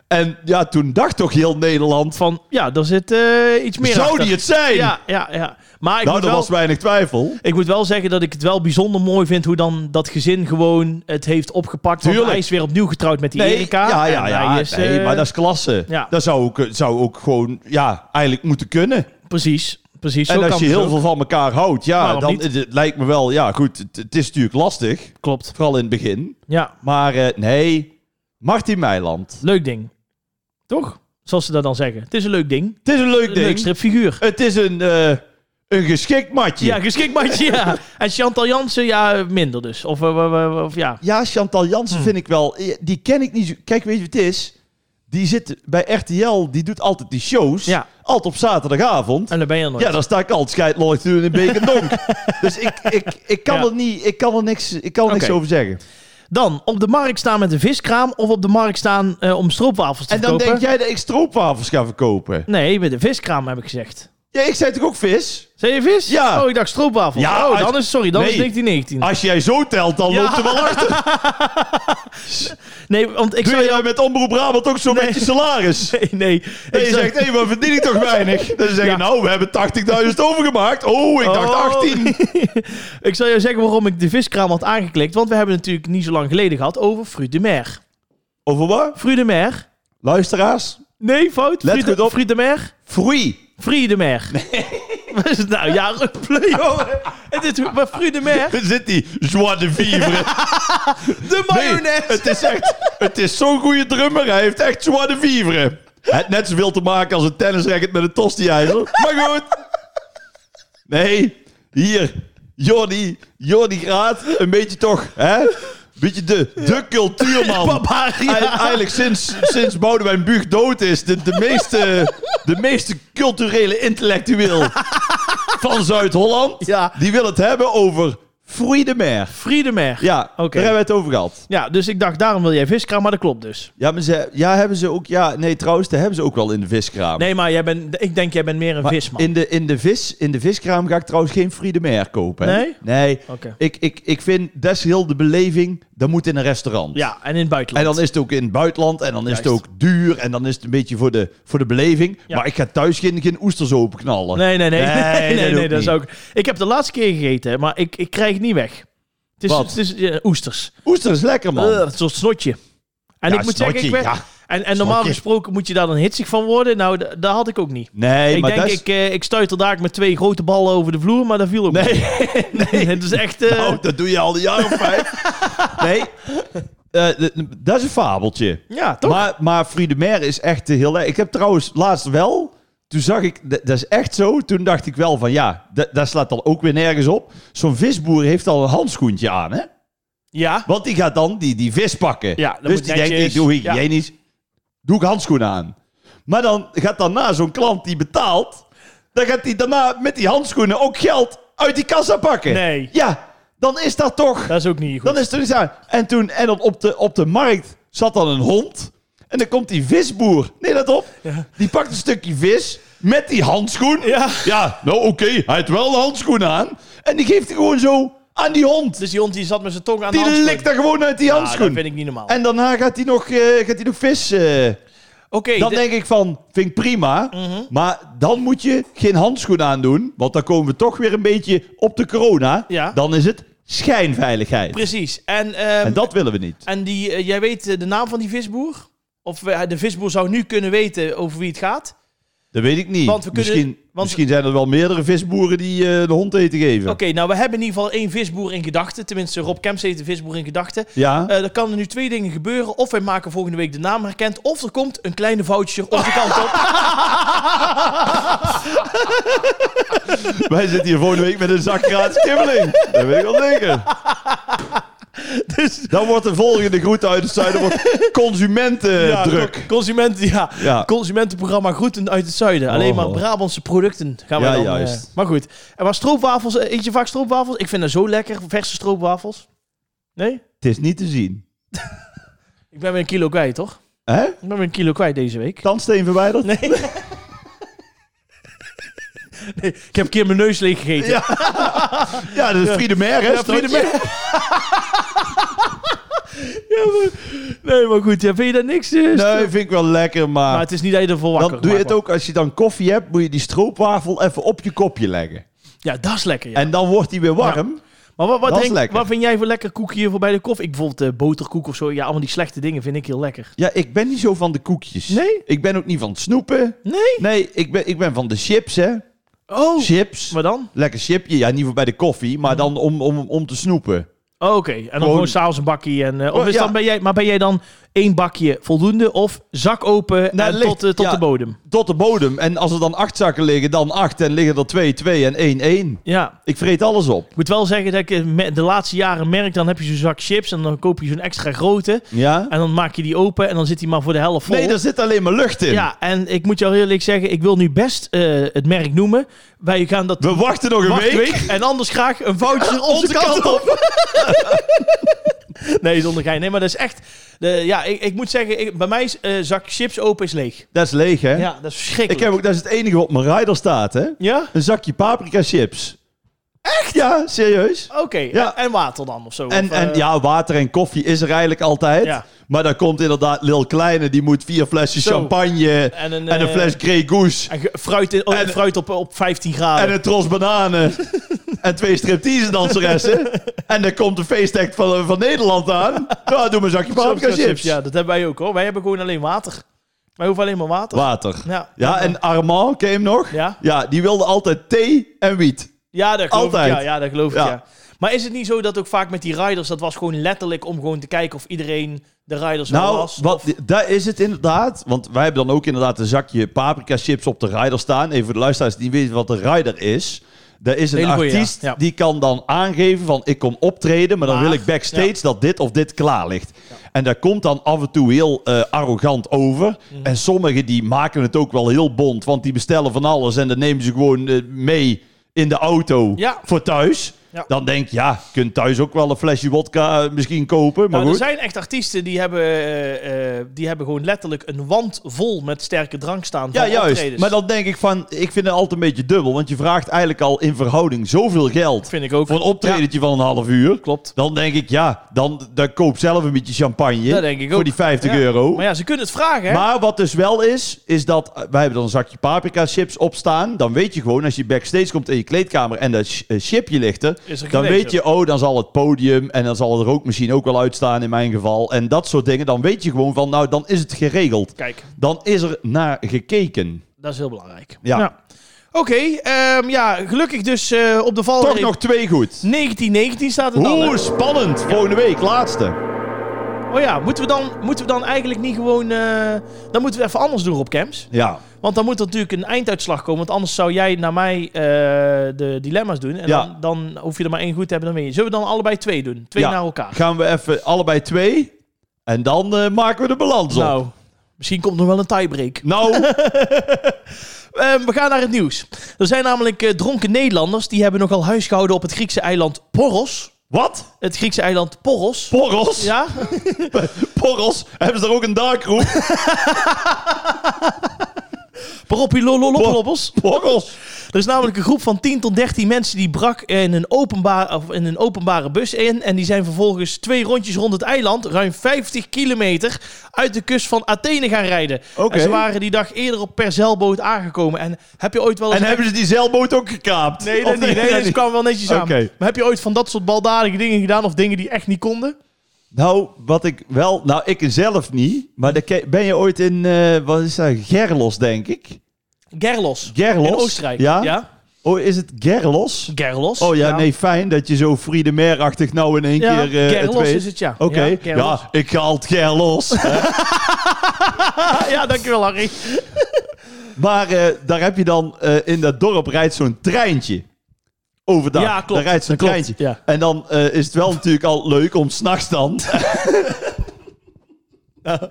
[SPEAKER 2] En ja, toen dacht toch heel Nederland van,
[SPEAKER 1] van ja, er zit eh, iets meer
[SPEAKER 2] zou
[SPEAKER 1] achter.
[SPEAKER 2] die het zijn?
[SPEAKER 1] Ja, ja, ja. Maar ik
[SPEAKER 2] nou,
[SPEAKER 1] moet
[SPEAKER 2] er
[SPEAKER 1] wel...
[SPEAKER 2] was weinig twijfel.
[SPEAKER 1] Ik moet wel zeggen dat ik het wel bijzonder mooi vind hoe dan dat gezin gewoon het heeft opgepakt. Want
[SPEAKER 2] Tuurlijk.
[SPEAKER 1] hij is weer opnieuw getrouwd met die Erika.
[SPEAKER 2] ja, ja,
[SPEAKER 1] En
[SPEAKER 2] ja.
[SPEAKER 1] hij is,
[SPEAKER 2] nee,
[SPEAKER 1] eh,
[SPEAKER 2] maar dat is klasse.
[SPEAKER 1] ja.
[SPEAKER 2] Dat zou ook, eh, zou ook gewoon, ja, eigenlijk moeten kunnen.
[SPEAKER 1] Precies, precies. zo
[SPEAKER 2] en als
[SPEAKER 1] kan
[SPEAKER 2] je
[SPEAKER 1] het
[SPEAKER 2] heel
[SPEAKER 1] ook.
[SPEAKER 2] veel van elkaar houdt, ja,
[SPEAKER 1] Waarom
[SPEAKER 2] dan
[SPEAKER 1] niet?
[SPEAKER 2] het, het lijkt me wel, ja, goed, het, het is natuurlijk lastig.
[SPEAKER 1] Klopt.
[SPEAKER 2] Vooral in het begin.
[SPEAKER 1] Ja,
[SPEAKER 2] Maar eh, nee, Martin Meiland.
[SPEAKER 1] leuk ding. Toch? Zoals ze dat dan zeggen. Het is een leuk ding.
[SPEAKER 2] Het is een leuk
[SPEAKER 1] Een leuk
[SPEAKER 2] ding.
[SPEAKER 1] stripfiguur.
[SPEAKER 2] het is een, eh, een geschikt matje.
[SPEAKER 1] Ja,
[SPEAKER 2] Ja,
[SPEAKER 1] geschikt maatje, ja. En Chantal Jansen, ja, minder dus. Of, eh, eh, eh, of ja.
[SPEAKER 2] Chantal Jansen
[SPEAKER 1] Hm.
[SPEAKER 2] vind ik wel, eh, die ken ik niet zo. Kijk, weet je wat het is? Die zit bij RTL, die doet altijd die shows.
[SPEAKER 1] Ja.
[SPEAKER 2] Altijd op zaterdagavond.
[SPEAKER 1] En daar ben je er nooit.
[SPEAKER 2] Ja, dan sta ik altijd scheidlollig te doen in Beek en Donk. dus ik, ik, ik kan
[SPEAKER 1] Ja.
[SPEAKER 2] er niet, ik kan er niks, ik kan er niks
[SPEAKER 1] Oké.
[SPEAKER 2] over zeggen.
[SPEAKER 1] Dan op de markt staan met een viskraam of op de markt staan eh, om stroopwafels te
[SPEAKER 2] En dan
[SPEAKER 1] verkopen.
[SPEAKER 2] denk jij dat ik stroopwafels ga verkopen.
[SPEAKER 1] Nee, met de viskraam heb ik gezegd.
[SPEAKER 2] Ja, ik zei toch ook vis?
[SPEAKER 1] Zijn je vis?
[SPEAKER 2] Ja.
[SPEAKER 1] Oh, ik dacht stroopwafels.
[SPEAKER 2] Ja,
[SPEAKER 1] oh,
[SPEAKER 2] als-
[SPEAKER 1] dan is, sorry, dan
[SPEAKER 2] Nee. Ah.
[SPEAKER 1] is 1919.
[SPEAKER 2] Als jij zo telt, dan
[SPEAKER 1] Hm. Ja.
[SPEAKER 2] loopt er wel achter.
[SPEAKER 1] Nee, want ik
[SPEAKER 2] Doe
[SPEAKER 1] zou
[SPEAKER 2] je
[SPEAKER 1] jou...
[SPEAKER 2] met Omroep Brabant ook zo'n beetje salaris?
[SPEAKER 1] Nee, nee.
[SPEAKER 2] En
[SPEAKER 1] Ik
[SPEAKER 2] je
[SPEAKER 1] zou-
[SPEAKER 2] zegt, hé, maar verdien ik toch weinig? Dan zeg je,
[SPEAKER 1] Ja.
[SPEAKER 2] nou, we hebben 80.000 overgemaakt. Oh, ik dacht
[SPEAKER 1] Oh.
[SPEAKER 2] 18.
[SPEAKER 1] ik zal jou zeggen waarom ik de viskraam had aangeklikt. Want we hebben het natuurlijk niet zo lang geleden gehad over Fruit de Mer.
[SPEAKER 2] Over wat?
[SPEAKER 1] Fruit de Mer.
[SPEAKER 2] Luisteraars,
[SPEAKER 1] Nee, fout.
[SPEAKER 2] Let
[SPEAKER 1] Fruit de-
[SPEAKER 2] goed op.
[SPEAKER 1] Fruit de Mer.
[SPEAKER 2] free.
[SPEAKER 1] Fruit de Mer. Wat is het nou? Ja, play, jongen. Het is maar Fruit de Mer.
[SPEAKER 2] Er zit die joie de vivre.
[SPEAKER 1] De
[SPEAKER 2] Nee,
[SPEAKER 1] mayonaise.
[SPEAKER 2] het is echt, het is zo'n goede drummer. Hij heeft echt joie de vivre. Hij heeft net zoveel te maken als een tennisracket met een tosti-ijzer. Maar goed. Nee, hier, Jordi, Jordi Graat, een beetje toch, hè? Een beetje de, de cultuurman.
[SPEAKER 1] Barbaria.
[SPEAKER 2] Eigen- Eigenlijk sinds, sinds Boudewijn Buug dood is, de, de, meeste, de meeste culturele intellectueel van Zuid-Holland,
[SPEAKER 1] Ja.
[SPEAKER 2] die wil het hebben over Fruit de Mer.
[SPEAKER 1] Friedemer.
[SPEAKER 2] Ja,
[SPEAKER 1] Oké.
[SPEAKER 2] daar hebben we het over gehad.
[SPEAKER 1] Ja, dus ik dacht, daarom wil jij viskraam, maar dat klopt dus.
[SPEAKER 2] Ja, maar ze, ja, hebben ze ook, ja, nee, trouwens, daar hebben ze ook wel in de viskraam.
[SPEAKER 1] Nee, maar jij bent, ik denk, jij bent meer een
[SPEAKER 2] Maar
[SPEAKER 1] visman.
[SPEAKER 2] In de, in, de vis, in de viskraam ga ik trouwens geen Fruit de Mer kopen. hè?
[SPEAKER 1] Nee?
[SPEAKER 2] Nee.
[SPEAKER 1] Oké.
[SPEAKER 2] Ik, ik, ik vind, des heel de beleving, dat moet in een restaurant.
[SPEAKER 1] Ja, en in het
[SPEAKER 2] En
[SPEAKER 1] buitenland.
[SPEAKER 2] dan is het ook in het buitenland. En dan is het
[SPEAKER 1] Juist.
[SPEAKER 2] ook duur. En dan is het een beetje voor de, voor de beleving.
[SPEAKER 1] Ja.
[SPEAKER 2] Maar ik ga thuis geen, geen oesters openknallen.
[SPEAKER 1] Nee, nee, nee.
[SPEAKER 2] Oh,
[SPEAKER 1] Nee, nee,
[SPEAKER 2] Nee, dat
[SPEAKER 1] nee,
[SPEAKER 2] doe ik
[SPEAKER 1] dat is
[SPEAKER 2] niet.
[SPEAKER 1] ook... Ik heb de laatste keer gegeten, maar ik, ik krijg het niet weg. Het is,
[SPEAKER 2] Wat?
[SPEAKER 1] Het is eh, oesters.
[SPEAKER 2] Oesters is lekker, man.
[SPEAKER 1] Ugh, het is een soort snotje. En
[SPEAKER 2] Ja,
[SPEAKER 1] ik moet
[SPEAKER 2] snotje,
[SPEAKER 1] zeggen, ik werd,
[SPEAKER 2] ja.
[SPEAKER 1] En, en normaal
[SPEAKER 2] Snap je?
[SPEAKER 1] gesproken moet je daar dan hitsig van worden. Nou, d- dat had ik ook niet.
[SPEAKER 2] Nee,
[SPEAKER 1] ik
[SPEAKER 2] maar
[SPEAKER 1] denk,
[SPEAKER 2] dat is...
[SPEAKER 1] ik, eh, ik stuitte daar met twee grote ballen over de vloer, maar dat viel ook niet.
[SPEAKER 2] Nee,
[SPEAKER 1] Het is echt... eh,
[SPEAKER 2] oh, dat doe je al een jaar of vijf. nee, eh, d- dat is een fabeltje.
[SPEAKER 1] ja, toch?
[SPEAKER 2] Maar, maar Friedemer is echt eh, heel erg. Ik heb trouwens laatst wel. Toen zag ik, d- dat is echt zo. Toen dacht ik wel van ja, d- daar slaat dan ook weer nergens op. Zo'n visboer heeft al een handschoentje aan, hè?
[SPEAKER 1] ja.
[SPEAKER 2] Want die gaat dan die, die vis pakken.
[SPEAKER 1] Ja, dat
[SPEAKER 2] dus
[SPEAKER 1] moet
[SPEAKER 2] die
[SPEAKER 1] netjes.
[SPEAKER 2] denkt, ik doe
[SPEAKER 1] Ja.
[SPEAKER 2] hygiënisch. Doe ik handschoenen aan. Maar dan gaat daarna zo'n klant die betaalt. Dan gaat hij daarna met die handschoenen ook geld uit die kassa pakken.
[SPEAKER 1] Nee.
[SPEAKER 2] Ja, dan is dat toch.
[SPEAKER 1] Dat is ook niet goed.
[SPEAKER 2] Dan is het er niet aan. En toen, en dan op de, op de markt zat dan een hond. En dan komt die visboer. Nee, let op. Die pakt een stukje vis met die handschoen.
[SPEAKER 1] Ja.
[SPEAKER 2] nou oké, hij heeft wel de handschoen aan. En die geeft hij gewoon zo aan die hond.
[SPEAKER 1] Dus die hond die zat met zijn tong aan de
[SPEAKER 2] Die
[SPEAKER 1] handschoen.
[SPEAKER 2] likt daar gewoon uit die
[SPEAKER 1] Ja,
[SPEAKER 2] handschoen.
[SPEAKER 1] dat vind ik niet normaal.
[SPEAKER 2] En daarna gaat hij nog, eh, gaat hij nog vis. eh.
[SPEAKER 1] Oké,
[SPEAKER 2] Dan
[SPEAKER 1] de- Mhm.
[SPEAKER 2] denk ik van, vind ik prima. Maar dan moet je geen handschoen aandoen. Want dan komen we toch weer een beetje op de corona.
[SPEAKER 1] Ja.
[SPEAKER 2] Dan is het schijnveiligheid.
[SPEAKER 1] precies. En, ehm,
[SPEAKER 2] En dat willen we niet.
[SPEAKER 1] En die, eh, jij weet eh, de naam van die visboer? Of eh, de visboer zou nu kunnen weten over wie het gaat?
[SPEAKER 2] Dat weet ik niet.
[SPEAKER 1] Want we kunnen-
[SPEAKER 2] misschien,
[SPEAKER 1] want-
[SPEAKER 2] misschien zijn er wel meerdere visboeren die eh, de hond eten geven.
[SPEAKER 1] Oké, nou we hebben in ieder geval één visboer in gedachten. Tenminste, Rob Kemps heeft een visboer in gedachten.
[SPEAKER 2] Ja,
[SPEAKER 1] Eh er kan er nu twee dingen gebeuren. Of wij maken volgende week de naam herkend. Of er komt een kleine voucher onze kant op.
[SPEAKER 2] wij zitten hier volgende week met een zak gratis kibbeling. Dat weet ik al zeker.
[SPEAKER 1] Dus,
[SPEAKER 2] Dan wordt de volgende groet uit het zuiden wordt
[SPEAKER 1] ja,
[SPEAKER 2] consumentendruk.
[SPEAKER 1] Consumenten, ja.
[SPEAKER 2] Ja.
[SPEAKER 1] Consumentenprogramma Groeten uit het Zuiden. Alleen
[SPEAKER 2] Oh.
[SPEAKER 1] maar Brabantse producten gaan we
[SPEAKER 2] Ja,
[SPEAKER 1] dan... eh,
[SPEAKER 2] juist.
[SPEAKER 1] maar goed. En maar stroopwafels, eh, eet je vaak stroopwafels? Ik vind dat zo lekker, verse stroopwafels. Nee?
[SPEAKER 2] Het is niet te zien.
[SPEAKER 1] Ik ben weer een kilo kwijt, toch?
[SPEAKER 2] Hè?
[SPEAKER 1] Ik ben weer een kilo kwijt deze week.
[SPEAKER 2] Tandsteen verwijderd?
[SPEAKER 1] Nee. Nee, ik heb een keer mijn neus leeg gegeten.
[SPEAKER 2] Ja. Ja, dat is Friede Mer, hè?
[SPEAKER 1] Ja, Friede Mer. Nee, maar goed, ja, vind je dat niks? eh, stroop?
[SPEAKER 2] Nee, vind ik wel lekker,
[SPEAKER 1] Maar
[SPEAKER 2] maar...
[SPEAKER 1] het is niet dat je ervoor wakker
[SPEAKER 2] Dan doe je
[SPEAKER 1] gemaakt
[SPEAKER 2] het ook als je dan koffie hebt, moet je die stroopwafel even op je kopje leggen.
[SPEAKER 1] wordt. Ja, dat is lekker. Ja.
[SPEAKER 2] En dan wordt die weer warm.
[SPEAKER 1] maar wat, wat,
[SPEAKER 2] dat is
[SPEAKER 1] drink-
[SPEAKER 2] lekker.
[SPEAKER 1] wat vind jij voor lekker koekje voor bij de koffie? Ik bijvoorbeeld eh boterkoek of zo. Ja, allemaal die slechte dingen vind ik heel lekker.
[SPEAKER 2] Ja, ik ben niet zo van de koekjes.
[SPEAKER 1] Nee?
[SPEAKER 2] Ik ben ook niet van het snoepen.
[SPEAKER 1] Nee?
[SPEAKER 2] Nee, ik ben, ik ben van de chips, hè.
[SPEAKER 1] Oh,
[SPEAKER 2] Chips.
[SPEAKER 1] maar dan?
[SPEAKER 2] Lekker chipje. Ja, niet voor bij de koffie, maar dan om, om, om te snoepen.
[SPEAKER 1] Oh, Oké, en dan
[SPEAKER 2] Gewoon-
[SPEAKER 1] gewoon s'avonds een bakje. En, eh, of
[SPEAKER 2] Oh,
[SPEAKER 1] is
[SPEAKER 2] ja.
[SPEAKER 1] dan ben jij, maar ben jij dan één bakje voldoende of zak open en
[SPEAKER 2] ligt-
[SPEAKER 1] tot, eh, tot
[SPEAKER 2] Nou, ja.
[SPEAKER 1] de bodem?
[SPEAKER 2] Tot de bodem. En als er dan acht zakken liggen, dan acht. En liggen er twee, twee en één, één.
[SPEAKER 1] Ja,
[SPEAKER 2] Ik vreet alles op.
[SPEAKER 1] Ik moet wel zeggen dat ik eh, me- de laatste jaren merk, dan heb je zo'n zak chips en dan koop je zo'n extra grote.
[SPEAKER 2] Ja?
[SPEAKER 1] En dan maak je die open en dan zit die maar voor de helft vol.
[SPEAKER 2] Nee, daar zit alleen maar lucht in.
[SPEAKER 1] Ja, en ik moet jou heel eerlijk zeggen, ik wil nu best eh, het merk noemen. Wij gaan dat
[SPEAKER 2] We wachten nog een
[SPEAKER 1] Wacht,
[SPEAKER 2] week.
[SPEAKER 1] weet- en anders graag een voucher onze,
[SPEAKER 2] Onze
[SPEAKER 1] kant
[SPEAKER 2] kant
[SPEAKER 1] op. nee, zonder gein. Nee, maar dat is echt... de- ja, ik, ik moet zeggen, ik- bij mij is eh, zak chips open is leeg.
[SPEAKER 2] Dat is leeg, hè?
[SPEAKER 1] Ja, dat is
[SPEAKER 2] Ik
[SPEAKER 1] verschrikkelijk.
[SPEAKER 2] heb ook, dat is het enige wat op mijn rider staat, hè?
[SPEAKER 1] Ja?
[SPEAKER 2] Een zakje paprika chips. Echt? Ja, serieus.
[SPEAKER 1] Oké.
[SPEAKER 2] Ja.
[SPEAKER 1] En water dan of zo.
[SPEAKER 2] En,
[SPEAKER 1] of,
[SPEAKER 2] en
[SPEAKER 1] eh,
[SPEAKER 2] ja, water en koffie is er eigenlijk altijd.
[SPEAKER 1] Ja.
[SPEAKER 2] Maar dan komt inderdaad Lil Kleine, die moet vier flesjes
[SPEAKER 1] Zo.
[SPEAKER 2] champagne
[SPEAKER 1] En een,
[SPEAKER 2] en een
[SPEAKER 1] eh,
[SPEAKER 2] fles Grey Goose.
[SPEAKER 1] en ge- fruit, in- oh,
[SPEAKER 2] en-
[SPEAKER 1] fruit op, op 15 graden.
[SPEAKER 2] En een tros bananen. en twee striptease danseressen. en dan komt de feestact van, van Nederland aan. Nou, doe maar een zakje paprika
[SPEAKER 1] Soms
[SPEAKER 2] chips.
[SPEAKER 1] Ja, dat hebben wij ook hoor. Wij hebben gewoon alleen water. Wij hoeven alleen maar water.
[SPEAKER 2] Water.
[SPEAKER 1] ja,
[SPEAKER 2] Ja, en Armand, ken je hem nog?
[SPEAKER 1] Ja.
[SPEAKER 2] die wilde altijd thee en wiet.
[SPEAKER 1] ja, dat geloof
[SPEAKER 2] altijd.
[SPEAKER 1] ik. Ja, ja, dat geloof ik.
[SPEAKER 2] Ja.
[SPEAKER 1] Ja. Maar is het niet zo dat ook vaak met die riders, dat was gewoon letterlijk om gewoon te kijken of iedereen de riders wel
[SPEAKER 2] Nou,
[SPEAKER 1] was?
[SPEAKER 2] wat, daar is het inderdaad. Want wij hebben dan ook inderdaad een zakje paprika chips op de rider staan. Even voor de luisteraars die niet weten wat de rider is. Daar is een
[SPEAKER 1] Hele goeie, ja.
[SPEAKER 2] artiest
[SPEAKER 1] Ja.
[SPEAKER 2] die kan dan aangeven van ik kom optreden, maar dan
[SPEAKER 1] Maar,
[SPEAKER 2] wil ik backstage dat dit of dit klaar ligt. En dat komt dan af en toe heel eh, arrogant over.
[SPEAKER 1] Mhm.
[SPEAKER 2] En sommigen die maken het ook wel heel bond, want die bestellen van alles en dat nemen ze gewoon eh, mee in de auto
[SPEAKER 1] Ja.
[SPEAKER 2] voor thuis.
[SPEAKER 1] Ja.
[SPEAKER 2] Dan denk je, ja, je kunt thuis ook wel een flesje wodka eh, misschien kopen, maar
[SPEAKER 1] Nou, er
[SPEAKER 2] goed.
[SPEAKER 1] zijn echt artiesten die hebben, eh, eh, die hebben gewoon letterlijk een wand vol met sterke drank staan.
[SPEAKER 2] Ja,
[SPEAKER 1] van
[SPEAKER 2] juist.
[SPEAKER 1] optredens.
[SPEAKER 2] Maar dan denk ik van, ik vind het altijd een beetje dubbel. Want je vraagt eigenlijk al in verhouding zoveel geld
[SPEAKER 1] vind ik ook.
[SPEAKER 2] voor een optredentje van een half uur.
[SPEAKER 1] Klopt.
[SPEAKER 2] Dan denk ik, ja, dan, dan koop zelf een beetje champagne.
[SPEAKER 1] Dat denk ik ook.
[SPEAKER 2] Voor die 50
[SPEAKER 1] Ja.
[SPEAKER 2] euro.
[SPEAKER 1] Maar ja, ze kunnen het vragen, hè?
[SPEAKER 2] Maar wat dus wel is, is dat eh, wij hebben dan een zakje paprika chips opstaan. Dan weet je gewoon, als je backstage komt in je kleedkamer en dat ch- eh, chipje ligt er,
[SPEAKER 1] Is er
[SPEAKER 2] Dan
[SPEAKER 1] geen
[SPEAKER 2] weet je, oh, dan zal het podium en dan zal de rookmachine ook wel uitstaan in mijn geval. En dat soort dingen. Dan weet je gewoon van, nou, dan is het geregeld.
[SPEAKER 1] Kijk,
[SPEAKER 2] Dan is er naar gekeken.
[SPEAKER 1] dat is heel belangrijk.
[SPEAKER 2] Ja.
[SPEAKER 1] Oké, ehm, ja, gelukkig dus eh, op de val.
[SPEAKER 2] Toch nog twee goed.
[SPEAKER 1] 1919 staat het dan. hè?
[SPEAKER 2] Oeh, spannend. Volgende week, laatste.
[SPEAKER 1] Oh ja, moeten we dan, moeten we dan eigenlijk niet gewoon... eh, dan moeten we even anders doen, op Camps.
[SPEAKER 2] Ja,
[SPEAKER 1] Want dan moet er natuurlijk een einduitslag komen. Want anders zou jij naar mij eh, de dilemma's doen. En
[SPEAKER 2] Ja.
[SPEAKER 1] dan, dan hoef je er maar één goed te hebben, dan win je. Zullen we dan allebei twee doen? Twee
[SPEAKER 2] Ja.
[SPEAKER 1] naar elkaar.
[SPEAKER 2] gaan we even allebei twee. En dan eh, maken we de balans op.
[SPEAKER 1] Nou, misschien komt nog wel een tiebreak.
[SPEAKER 2] Nou,
[SPEAKER 1] Ehm, we gaan naar het nieuws. Er zijn namelijk eh, dronken Nederlanders... die hebben nogal huisgehouden op het Griekse eiland Poros.
[SPEAKER 2] wat?
[SPEAKER 1] Het Griekse eiland Poros.
[SPEAKER 2] Porros?
[SPEAKER 1] ja?
[SPEAKER 2] Porros? Hebben ze daar ook een darkroom?
[SPEAKER 1] Poropilololopolos.
[SPEAKER 2] Porros?
[SPEAKER 1] Er is namelijk een groep van 10 tot 13 mensen die brak in een, openbaar, of in een openbare bus in. En die zijn vervolgens twee rondjes rond het eiland, ruim 50 kilometer, uit de kust van Athene gaan rijden.
[SPEAKER 2] Oké.
[SPEAKER 1] En ze waren die dag eerder op per zeilboot aangekomen. En heb je ooit wel eens...
[SPEAKER 2] En hebben ze die zeilboot ook gekaapt?
[SPEAKER 1] Nee,
[SPEAKER 2] Of
[SPEAKER 1] dat niet. Nee,
[SPEAKER 2] dat
[SPEAKER 1] dat
[SPEAKER 2] niet?
[SPEAKER 1] kwam wel netjes aan.
[SPEAKER 2] Oké.
[SPEAKER 1] Maar heb je ooit van dat soort baldadige dingen gedaan of dingen die echt niet konden?
[SPEAKER 2] Nou, wat ik wel... Nou, ik zelf niet. Maar de ke- ben je ooit in... eh, wat is dat? Gerlos, denk ik.
[SPEAKER 1] Gerlos.
[SPEAKER 2] Gerlos?
[SPEAKER 1] In Oostenrijk.
[SPEAKER 2] Ja? Oh, is het Gerlos?
[SPEAKER 1] Gerlos.
[SPEAKER 2] Oh ja, nee, fijn dat je zo Friedemeer-achtig nou in één
[SPEAKER 1] Nou. Ja,
[SPEAKER 2] keer eh, het
[SPEAKER 1] Gerlos
[SPEAKER 2] weet.
[SPEAKER 1] is het, ja.
[SPEAKER 2] Oké,
[SPEAKER 1] Ja,
[SPEAKER 2] ja,
[SPEAKER 1] Gerlos.
[SPEAKER 2] ik ga het Gerlos.
[SPEAKER 1] Ah, ja, dankjewel Harry.
[SPEAKER 2] maar eh, daar heb je dan... eh, in dat dorp rijdt zo'n treintje. Overdag.
[SPEAKER 1] Ja, klopt.
[SPEAKER 2] Daar rijdt zo'n
[SPEAKER 1] Dat klopt,
[SPEAKER 2] treintje.
[SPEAKER 1] ja.
[SPEAKER 2] En dan eh, is het wel natuurlijk al leuk om s'nachts dan...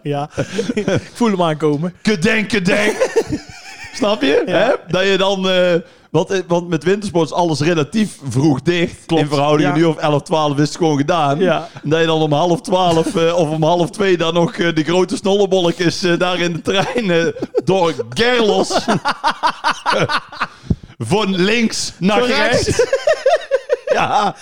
[SPEAKER 1] ja, ik voel hem aankomen.
[SPEAKER 2] Gedenk, gedenk. Snap je? Hè? Dat je dan... eh, want, eh, want met wintersport is alles relatief vroeg dicht.
[SPEAKER 1] Klopt,
[SPEAKER 2] In verhouding
[SPEAKER 1] ja.
[SPEAKER 2] nu of 11, 12 is het gewoon gedaan.
[SPEAKER 1] Ja.
[SPEAKER 2] En dat je dan om half 12 eh, of om half 2 dan nog eh, de grote snollebolletjes eh, daar in de trein eh, door Gerlos. Van links naar
[SPEAKER 1] Correct.
[SPEAKER 2] rechts. ja.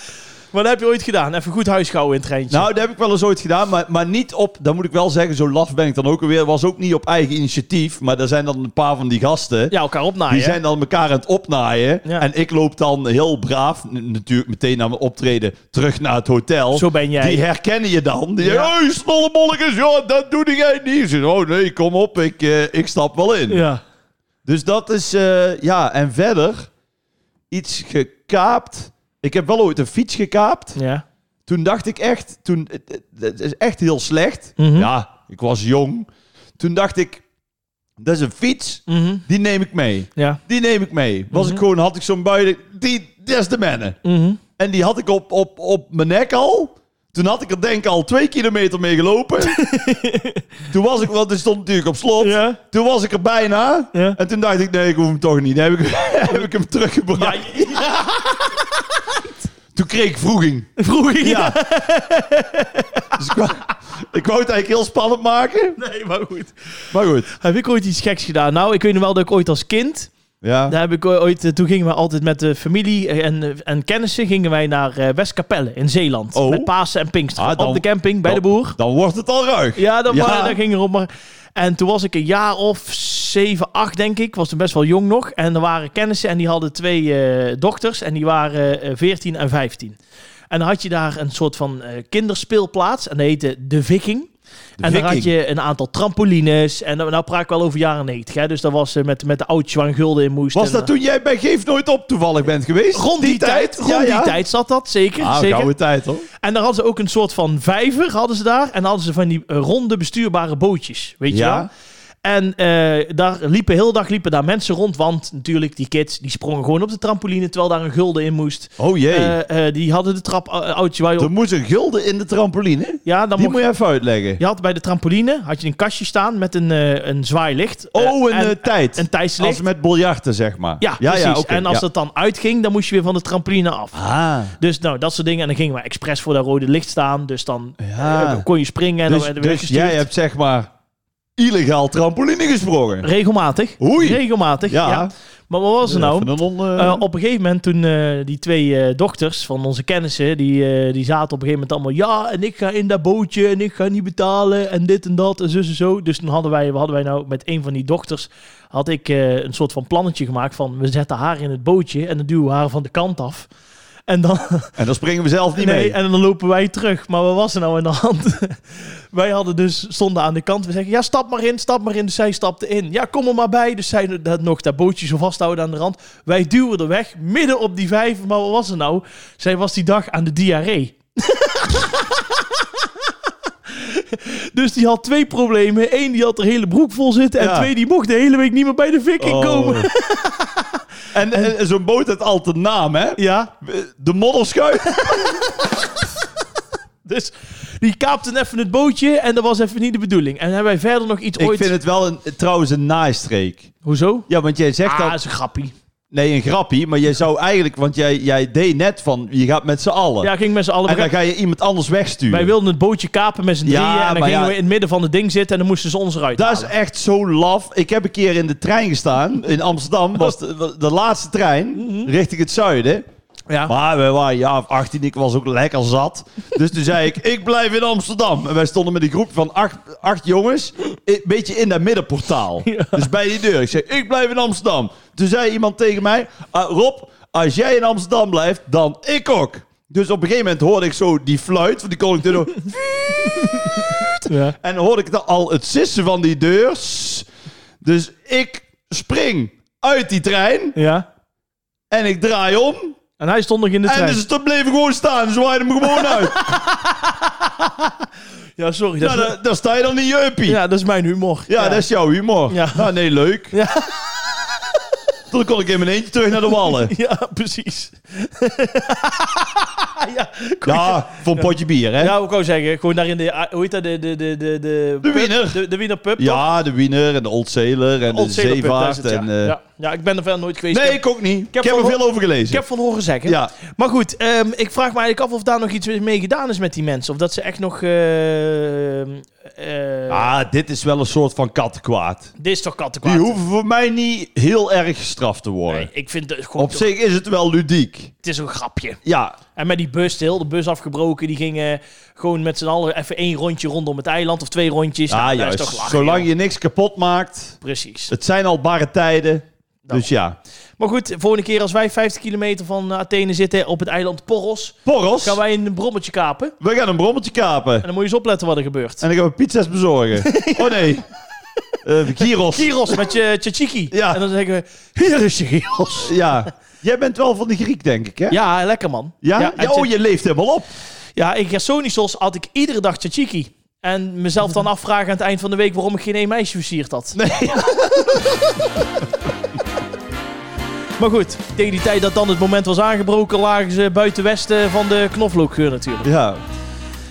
[SPEAKER 1] Maar dat heb je ooit gedaan. Even goed huishouden in het treintje.
[SPEAKER 2] Nou, dat heb ik wel eens ooit gedaan, maar, maar niet op, dat moet ik wel zeggen, zo laf ben ik dan ook alweer. Was ook niet op eigen initiatief, maar er zijn dan een paar van die gasten.
[SPEAKER 1] ja, elkaar opnaaien.
[SPEAKER 2] Die zijn dan elkaar aan het opnaaien.
[SPEAKER 1] Ja.
[SPEAKER 2] En ik loop dan heel braaf, n- natuurlijk meteen na mijn optreden, terug naar het hotel.
[SPEAKER 1] Zo ben jij.
[SPEAKER 2] Die herkennen je dan. Die
[SPEAKER 1] Ja.
[SPEAKER 2] zeggen, hey, snollebollekes, ja, dat doe jij niet. Ik zeg, oh nee, kom op, ik, eh, ik stap wel in.
[SPEAKER 1] Ja.
[SPEAKER 2] Dus dat is, eh, ja, en verder, iets gekaapt. Ik heb wel ooit een fiets gekaapt.
[SPEAKER 1] Ja.
[SPEAKER 2] Toen dacht ik echt, toen, het- het- het is echt heel slecht.
[SPEAKER 1] Mhm.
[SPEAKER 2] Ja, ik was jong. Toen dacht ik, dat is een fiets,
[SPEAKER 1] Mhm.
[SPEAKER 2] die neem ik mee.
[SPEAKER 1] Ja.
[SPEAKER 2] Die neem ik mee. Was
[SPEAKER 1] Mhm.
[SPEAKER 2] ik gewoon, had ik zo'n buiten, die, dat is de mannen. En die had ik op, op, op mijn nek al. Toen had ik er denk ik al twee kilometer mee gelopen. toen was ik, want het stond natuurlijk op slot.
[SPEAKER 1] Ja.
[SPEAKER 2] Toen was ik er bijna.
[SPEAKER 1] Ja.
[SPEAKER 2] En toen dacht ik, nee, ik hoef hem toch niet. Dan heb ik, heb ik hem teruggebracht. Toen kreeg ik vroeging.
[SPEAKER 1] Vroeg je?
[SPEAKER 2] Ja. dus ik wou, ik wou het eigenlijk heel spannend maken.
[SPEAKER 1] Nee, maar goed.
[SPEAKER 2] Maar goed.
[SPEAKER 1] Heb ik ooit iets geks gedaan? Nou, ik weet nog wel dat ik ooit als kind...
[SPEAKER 2] Ja.
[SPEAKER 1] Daar heb ik ooit, eh, toen gingen we altijd met de familie eh, en, eh, en kennissen... gingen wij naar eh, Westkapelle in Zeeland.
[SPEAKER 2] Oh.
[SPEAKER 1] Met Pasen en Pinksteren.
[SPEAKER 2] Ah, dan-
[SPEAKER 1] op de camping, bij
[SPEAKER 2] dan-
[SPEAKER 1] de boer.
[SPEAKER 2] Dan wordt het al ruig.
[SPEAKER 1] Ja, dat,
[SPEAKER 2] Ja.
[SPEAKER 1] Maar, dat ging erop. Maar... En toen was ik een jaar of zeven, acht, denk ik. Was toen best wel jong nog. En er waren kennissen en die hadden twee eh, dochters. En die waren eh, 14 en 15. En dan had je daar een soort van eh, kinderspeelplaats. En dat heette De Viking. en daar had
[SPEAKER 2] Viking.
[SPEAKER 1] je een aantal trampolines. En nou, nou praat ik wel over jaren 90. Hè? Dus dat was eh, met, met de oud Gulden in moest.
[SPEAKER 2] Was
[SPEAKER 1] En, eh,
[SPEAKER 2] dat toen jij bij Geef Nooit Op toevallig bent geweest?
[SPEAKER 1] Rond die, tijd, rond
[SPEAKER 2] Ja,
[SPEAKER 1] die
[SPEAKER 2] ja.
[SPEAKER 1] tijd zat dat, zeker.
[SPEAKER 2] Ah,
[SPEAKER 1] zeker.
[SPEAKER 2] gouden tijd hoor.
[SPEAKER 1] En daar hadden ze ook een soort van vijver, hadden ze daar. En hadden ze van die eh, ronde bestuurbare bootjes, weet je
[SPEAKER 2] Ja.
[SPEAKER 1] wel. En eh, daar liepen heel dag liepen daar mensen rond, want natuurlijk die kids die sprongen gewoon op de trampoline terwijl daar een gulden in moest.
[SPEAKER 2] Oh jee.
[SPEAKER 1] Eh, eh, die hadden de trap eh, oudje waar je
[SPEAKER 2] er
[SPEAKER 1] op.
[SPEAKER 2] moest een gulden in de trampoline.
[SPEAKER 1] Ja, dan
[SPEAKER 2] Die
[SPEAKER 1] mocht,
[SPEAKER 2] moet je even uitleggen.
[SPEAKER 1] je had bij de trampoline had je een kastje staan met een, eh een zwaailicht. Eh,
[SPEAKER 2] Oh, een
[SPEAKER 1] en,
[SPEAKER 2] eh, tijd.
[SPEAKER 1] een tijdslicht.
[SPEAKER 2] Als met biljarten, zeg maar.
[SPEAKER 1] Ja,
[SPEAKER 2] ja,
[SPEAKER 1] precies.
[SPEAKER 2] oké,
[SPEAKER 1] en als
[SPEAKER 2] ja.
[SPEAKER 1] dat dan uitging, dan moest je weer van de trampoline af.
[SPEAKER 2] Ah.
[SPEAKER 1] Dus nou, dat soort dingen. En dan gingen we expres voor dat rode licht staan. Dus dan
[SPEAKER 2] Ja.
[SPEAKER 1] eh, kon je springen en dan
[SPEAKER 2] Dus,
[SPEAKER 1] werden we
[SPEAKER 2] dus
[SPEAKER 1] gestuurd.
[SPEAKER 2] jij hebt zeg maar illegaal trampoline gesprongen.
[SPEAKER 1] Regelmatig.
[SPEAKER 2] Oei.
[SPEAKER 1] Regelmatig, ja.
[SPEAKER 2] Ja.
[SPEAKER 1] Maar wat was er nou?
[SPEAKER 2] Even een on- eh,
[SPEAKER 1] Eh, op een gegeven moment toen eh, die twee eh, dochters van onze kennissen, die, eh, die zaten op een gegeven moment allemaal, ja, en ik ga in dat bootje en ik ga niet betalen en dit en dat en zus en zo. Dus toen hadden wij, hadden wij nou met een van die dochters, had ik eh, een soort van plannetje gemaakt van, we zetten haar in het bootje en dan duwen we haar van de kant af. En dan,
[SPEAKER 2] En dan springen we zelf niet
[SPEAKER 1] nee,
[SPEAKER 2] mee.
[SPEAKER 1] en dan lopen wij terug. Maar wat was er nou aan de hand? wij hadden dus, stonden aan de kant. We zeggen, ja, stap maar in, stap maar in. Dus zij stapte in. Ja, kom er maar bij. Dus zij dat, nog dat bootje zo vasthouden aan de rand. Wij duwen er weg, midden op die vijf. Maar wat was er nou? Zij was die dag aan de diarree. Dus die had twee problemen. Eén, die had de hele broek vol zitten. En
[SPEAKER 2] Ja.
[SPEAKER 1] twee, die mocht de hele week niet meer bij de fikking
[SPEAKER 2] Oh.
[SPEAKER 1] komen.
[SPEAKER 2] En, en, zo'n boot heeft altijd een naam, hè?
[SPEAKER 1] Ja,
[SPEAKER 2] De modderschuit.
[SPEAKER 1] Dus die kaapte even het bootje en dat was even niet de bedoeling. En hebben wij verder nog iets
[SPEAKER 2] Ik
[SPEAKER 1] ooit...
[SPEAKER 2] vind het wel een, trouwens een naaistreek.
[SPEAKER 1] Hoezo?
[SPEAKER 2] Ja, want jij zegt
[SPEAKER 1] Ah,
[SPEAKER 2] dat...
[SPEAKER 1] dat is een grappie.
[SPEAKER 2] Nee, een grappie, maar jij zou eigenlijk... Want jij, jij deed net van, je gaat met z'n allen.
[SPEAKER 1] Ja, ging met z'n allen...
[SPEAKER 2] en dan ga je iemand anders wegsturen.
[SPEAKER 1] Wij wilden het bootje kapen met z'n
[SPEAKER 2] Ja,
[SPEAKER 1] drieën en dan
[SPEAKER 2] maar
[SPEAKER 1] gingen
[SPEAKER 2] ja.
[SPEAKER 1] we in het midden van het ding zitten en dan moesten ze ons eruit
[SPEAKER 2] Dat is
[SPEAKER 1] halen.
[SPEAKER 2] echt zo laf. Ik heb een keer in de trein gestaan. In Amsterdam was de, wa- de laatste trein richting het zuiden.
[SPEAKER 1] Mhm. Ja.
[SPEAKER 2] Maar we waren ja of 18, ik was ook lekker zat. Dus toen zei ik, ik blijf in Amsterdam. En wij stonden met een groep van acht, acht jongens, een beetje in dat middenportaal. Dus bij die deur. Ik zei, ik blijf in Amsterdam. Toen zei iemand tegen mij, "Ah, Rob, als jij in Amsterdam blijft, dan ik ook. Dus op een gegeven moment hoorde ik zo die fluit van die koning Tudor.
[SPEAKER 1] Ja.
[SPEAKER 2] En dan hoorde ik dan al het sissen van die deur. Sss. Dus ik spring uit die trein
[SPEAKER 1] ja.
[SPEAKER 2] en ik draai om.
[SPEAKER 1] En hij stond nog in de
[SPEAKER 2] En
[SPEAKER 1] trein.
[SPEAKER 2] dus ze bleven gewoon staan, zwaaiden me gewoon uit.
[SPEAKER 1] Ja, sorry. Dat
[SPEAKER 2] Nou,
[SPEAKER 1] is-
[SPEAKER 2] daar, daar sta je dan in je uppie. Ja,
[SPEAKER 1] ja, dat is mijn humor.
[SPEAKER 2] dat is jouw humor.
[SPEAKER 1] Ja.
[SPEAKER 2] Nou, nee, leuk.
[SPEAKER 1] Ja.
[SPEAKER 2] Toen kon ik in mijn eentje terug naar de wallen.
[SPEAKER 1] Ja, precies. ja, kon je-
[SPEAKER 2] Ja, voor een potje bier, hè?
[SPEAKER 1] ja, ik wou zeggen, gewoon daar in de... eh, Hoe heet dat? De, de, de, de, de,
[SPEAKER 2] De
[SPEAKER 1] pub?
[SPEAKER 2] wiener.
[SPEAKER 1] De, de Wiener Pub, toch?
[SPEAKER 2] Ja, de Wiener en de Old Sailor en
[SPEAKER 1] Old
[SPEAKER 2] de
[SPEAKER 1] Sailor Pub, daar is
[SPEAKER 2] Zeevaart.
[SPEAKER 1] het,
[SPEAKER 2] en,
[SPEAKER 1] ja.
[SPEAKER 2] eh,
[SPEAKER 1] ja. ja, ik ben er verder nooit geweest. Ik
[SPEAKER 2] Nee,
[SPEAKER 1] heb-
[SPEAKER 2] ik ook niet. Ik heb,
[SPEAKER 1] van-
[SPEAKER 2] er veel over gelezen.
[SPEAKER 1] Ik heb van horen zeggen.
[SPEAKER 2] Ja.
[SPEAKER 1] Maar goed, ehm, ik vraag me eigenlijk af of daar nog iets mee gedaan is met die mensen. Of dat ze echt nog... eh, eh,
[SPEAKER 2] Ah, dit is wel een soort van kattenkwaad.
[SPEAKER 1] Dit is toch
[SPEAKER 2] Die
[SPEAKER 1] kattenkwaad?
[SPEAKER 2] hoeven voor mij niet heel erg gestraft te worden.
[SPEAKER 1] Nee, ik vind het gewoon...
[SPEAKER 2] Op zich is het wel ludiek.
[SPEAKER 1] Het is een grapje.
[SPEAKER 2] Ja,
[SPEAKER 1] En met die bus, de hele bus afgebroken. Die gingen gewoon met z'n allen even één rondje rondom het eiland. Of twee rondjes.
[SPEAKER 2] ah,
[SPEAKER 1] Nou, dat
[SPEAKER 2] juist.
[SPEAKER 1] is toch lachen,
[SPEAKER 2] Zolang
[SPEAKER 1] joh.
[SPEAKER 2] je niks kapot maakt.
[SPEAKER 1] Precies.
[SPEAKER 2] Het zijn al barre tijden.
[SPEAKER 1] Nou.
[SPEAKER 2] Dus ja.
[SPEAKER 1] Maar goed, volgende keer als wij 50 kilometer van eh, Athene zitten op het eiland Poros...
[SPEAKER 2] Porros,
[SPEAKER 1] gaan wij een brommetje kapen.
[SPEAKER 2] we gaan een brommeltje kapen.
[SPEAKER 1] En dan moet je eens opletten wat er gebeurt.
[SPEAKER 2] En ik ga we pizza's bezorgen. Oh nee. Eh gyros.
[SPEAKER 1] Gyros met je tchiki.
[SPEAKER 2] Ja.
[SPEAKER 1] En dan zeggen we, hier is je gyros.
[SPEAKER 2] Ja. Jij bent wel van de Griek, denk ik, hè?
[SPEAKER 1] Ja, lekker man.
[SPEAKER 2] Ja?
[SPEAKER 1] Ja,
[SPEAKER 2] Ja, oh, je leeft helemaal op.
[SPEAKER 1] ja in Gersonisos had ik iedere dag tzatziki. En mezelf dan afvragen aan het eind van de week waarom ik geen één meisje versierd had.
[SPEAKER 2] Nee.
[SPEAKER 1] Maar goed, tegen die tijd dat dan het moment was aangebroken, lagen ze buiten westen van de knoflookgeur natuurlijk.
[SPEAKER 2] Ja.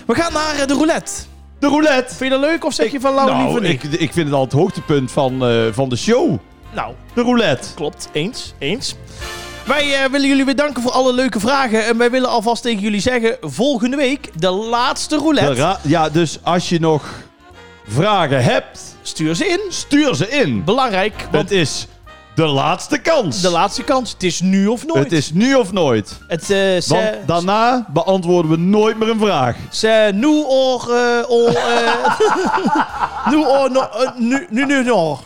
[SPEAKER 1] We gaan naar eh, de roulette.
[SPEAKER 2] De roulette.
[SPEAKER 1] Vind je dat leuk of zeg je van Lau
[SPEAKER 2] Nou,
[SPEAKER 1] liever niet?
[SPEAKER 2] ik, ik vind het al het hoogtepunt van, eh, van de show.
[SPEAKER 1] Nou,
[SPEAKER 2] De roulette.
[SPEAKER 1] Klopt, eens, eens. Wij eh, willen jullie bedanken voor alle leuke vragen. En wij willen alvast tegen jullie zeggen, volgende week de laatste roulette.
[SPEAKER 2] De ra- ja, dus als je nog vragen hebt,
[SPEAKER 1] Stuur ze in.
[SPEAKER 2] stuur ze in.
[SPEAKER 1] Belangrijk, want
[SPEAKER 2] Het is de laatste kans.
[SPEAKER 1] de laatste kans. Het is nu of nooit.
[SPEAKER 2] Het is nu of nooit.
[SPEAKER 1] Het, eh, ze-
[SPEAKER 2] Want daarna beantwoorden we nooit meer een vraag.
[SPEAKER 1] C'est nous or... eh, or eh, nous or... No, eh, nu, nu, nu, or.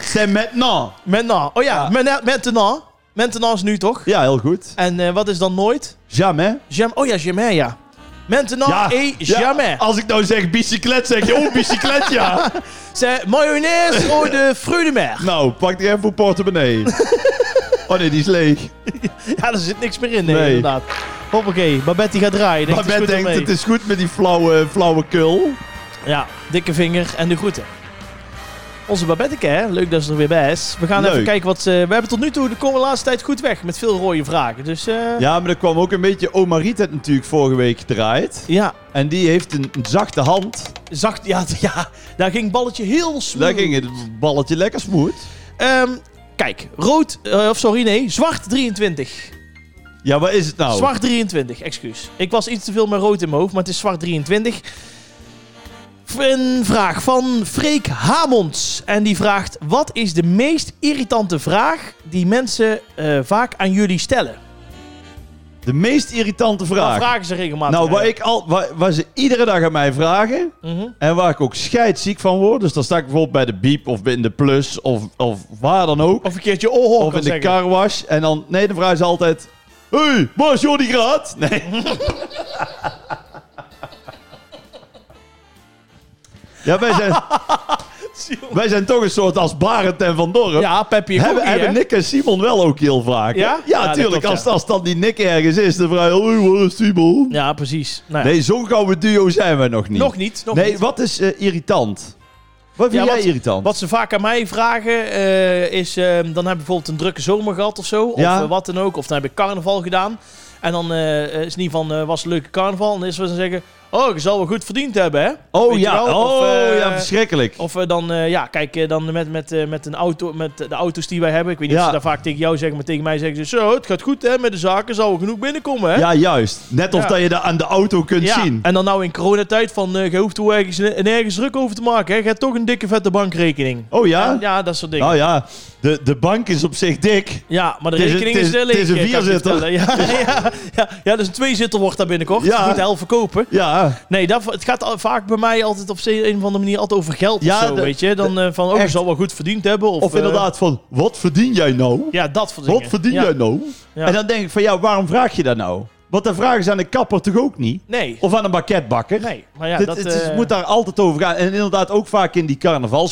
[SPEAKER 2] C'est maintenant.
[SPEAKER 1] Maintenant. Oh ja,
[SPEAKER 2] Ja.
[SPEAKER 1] maintenant- maintenant. Maintenant is nu toch?
[SPEAKER 2] Ja, heel goed.
[SPEAKER 1] En eh, wat is dan nooit?
[SPEAKER 2] Jamais.
[SPEAKER 1] Jam oh ja, jamais ja. Maintenant
[SPEAKER 2] Ja,
[SPEAKER 1] et
[SPEAKER 2] ja,
[SPEAKER 1] jamais.
[SPEAKER 2] Als ik nou zeg bicyclet, zeg je oh, bicyclet, ja.
[SPEAKER 1] C'est mayonaise ou de fruits de mer.
[SPEAKER 2] Nou, pak die even voor portemonnee. Oh nee, die is leeg.
[SPEAKER 1] Ja, er zit niks meer in, nee,
[SPEAKER 2] Nee.
[SPEAKER 1] inderdaad. Hoppakee, Babette die gaat draaien. Denkt,
[SPEAKER 2] Maar Ben
[SPEAKER 1] het is goed
[SPEAKER 2] denkt, het
[SPEAKER 1] ermee.
[SPEAKER 2] is goed met die flauwe, flauwe kul.
[SPEAKER 1] Ja, dikke vinger en de groeten. Onze Babetteke, hè? Leuk dat ze er weer bij is. We gaan even
[SPEAKER 2] Leuk.
[SPEAKER 1] kijken wat ze... We hebben tot nu toe de komende laatste tijd goed weg met veel rode vragen. Dus eh,
[SPEAKER 2] Ja, maar er kwam ook een beetje... Oma Riet had natuurlijk vorige week gedraaid.
[SPEAKER 1] ja,
[SPEAKER 2] En die heeft een, een zachte hand.
[SPEAKER 1] zacht... Ja, t- ja, daar ging balletje heel smooth.
[SPEAKER 2] Daar ging het balletje lekker smooth.
[SPEAKER 1] Ehm, kijk, rood... eh, of sorry, nee, zwart 23.
[SPEAKER 2] Ja, wat is het nou?
[SPEAKER 1] Zwart 23, excuus. Ik was iets te veel met rood in mijn hoofd, maar het is zwart 23. V- Een vraag van Freek Hamons. En die vraagt: Wat is de meest irritante vraag die mensen eh, vaak aan jullie stellen?
[SPEAKER 2] De meest irritante
[SPEAKER 1] Daar
[SPEAKER 2] vraag.
[SPEAKER 1] vragen ze regelmatig.
[SPEAKER 2] nou,
[SPEAKER 1] aan.
[SPEAKER 2] waar, ik al, waar, waar ze iedere dag aan mij vragen...
[SPEAKER 1] Mhm.
[SPEAKER 2] En waar ik ook scheidziek van word. Dus dan sta ik bijvoorbeeld bij de biep of in de plus of, of waar dan ook.
[SPEAKER 1] Of een keertje oh,
[SPEAKER 2] Of in de car wash. En dan, nee, dan vragen ze altijd... "Hé, hey, waar is Jordi Graat? Nee. ja, wij zijn, wij zijn toch een soort als Barend en Van Dorp.
[SPEAKER 1] Ja, Peppy en
[SPEAKER 2] Hebben,
[SPEAKER 1] Cookie,
[SPEAKER 2] hebben
[SPEAKER 1] hè?
[SPEAKER 2] Nick en Simon wel ook heel vaak. hè?
[SPEAKER 1] Ja? Ja,
[SPEAKER 2] Ja,
[SPEAKER 1] dat
[SPEAKER 2] tuurlijk.
[SPEAKER 1] klopt,
[SPEAKER 2] als,
[SPEAKER 1] ja.
[SPEAKER 2] als dan die Nick ergens is, dan vraag je... Hoi, waar is Simon?
[SPEAKER 1] Ja, precies. Nou ja.
[SPEAKER 2] Nee, zo'n gouden duo zijn we nog niet.
[SPEAKER 1] Nog niet. Nog
[SPEAKER 2] nee,
[SPEAKER 1] niet.
[SPEAKER 2] wat is eh, irritant? Wat vind
[SPEAKER 1] Ja,
[SPEAKER 2] jij irritant?
[SPEAKER 1] Wat ze vaak aan mij vragen eh, is, eh, dan heb ik bijvoorbeeld een drukke zomer gehad of zo. Of
[SPEAKER 2] Ja.
[SPEAKER 1] eh, wat dan ook. Of dan heb ik carnaval gedaan. En dan eh, eh, is het niet van, eh, was het een leuke carnaval. En dan is het dan zeggen, oh, je zal wel goed verdiend hebben, hè?
[SPEAKER 2] oh
[SPEAKER 1] Weet
[SPEAKER 2] ja,
[SPEAKER 1] je wel?
[SPEAKER 2] oh
[SPEAKER 1] Of, eh,
[SPEAKER 2] ja, verschrikkelijk.
[SPEAKER 1] Of eh, dan, eh, ja, kijk, eh, dan met, met, eh, met, een auto, met de auto's die wij hebben. Ik weet niet
[SPEAKER 2] Ja.
[SPEAKER 1] of ze dat vaak tegen jou zeggen, maar tegen mij zeggen ze... Zo, het gaat goed hè, met de zaken, zal we genoeg binnenkomen hè?
[SPEAKER 2] Ja, juist. Net of
[SPEAKER 1] Ja.
[SPEAKER 2] dat je dat aan de auto kunt
[SPEAKER 1] Ja,
[SPEAKER 2] zien.
[SPEAKER 1] en dan nou in coronatijd van, eh je hoeft er ergens, nergens druk over te maken hè. Je hebt toch een dikke vette bankrekening.
[SPEAKER 2] Oh ja?
[SPEAKER 1] En ja, dat soort dingen.
[SPEAKER 2] Nou ja, de, de bank is op zich dik.
[SPEAKER 1] Ja, maar de
[SPEAKER 2] Het is-
[SPEAKER 1] rekening
[SPEAKER 2] het
[SPEAKER 1] is,
[SPEAKER 2] is-
[SPEAKER 1] eh, leeg.
[SPEAKER 2] het is een
[SPEAKER 1] eh, kan ik je
[SPEAKER 2] vierzitter.
[SPEAKER 1] vertellen. Ja, ja, ja, ja, dus een tweezitter wordt daar binnenkort.
[SPEAKER 2] Ja.
[SPEAKER 1] Ja. moet de helft verkopen.
[SPEAKER 2] Ja,
[SPEAKER 1] Nee, dat, het gaat al- vaak bij mij altijd op een of andere manier altijd over geld
[SPEAKER 2] Ja,
[SPEAKER 1] of zo,
[SPEAKER 2] de-
[SPEAKER 1] weet je. Dan eh, van, oh, je
[SPEAKER 2] echt.
[SPEAKER 1] zal wel goed verdiend hebben. Of,
[SPEAKER 2] of
[SPEAKER 1] eh,
[SPEAKER 2] inderdaad van, wat verdien jij nou?
[SPEAKER 1] ja, dat soort dingen.
[SPEAKER 2] wat verdien
[SPEAKER 1] Ja.
[SPEAKER 2] jij nou?
[SPEAKER 1] Ja.
[SPEAKER 2] En dan denk ik van, ja, waarom vraag je dat nou? Want dat vragen ze aan de kapper toch ook niet?
[SPEAKER 1] Nee,
[SPEAKER 2] Of aan een bakketbakker?
[SPEAKER 1] nee. Maar ja,
[SPEAKER 2] Dit-
[SPEAKER 1] dat...
[SPEAKER 2] het is-
[SPEAKER 1] eh,
[SPEAKER 2] moet daar altijd over gaan. En inderdaad ook vaak in die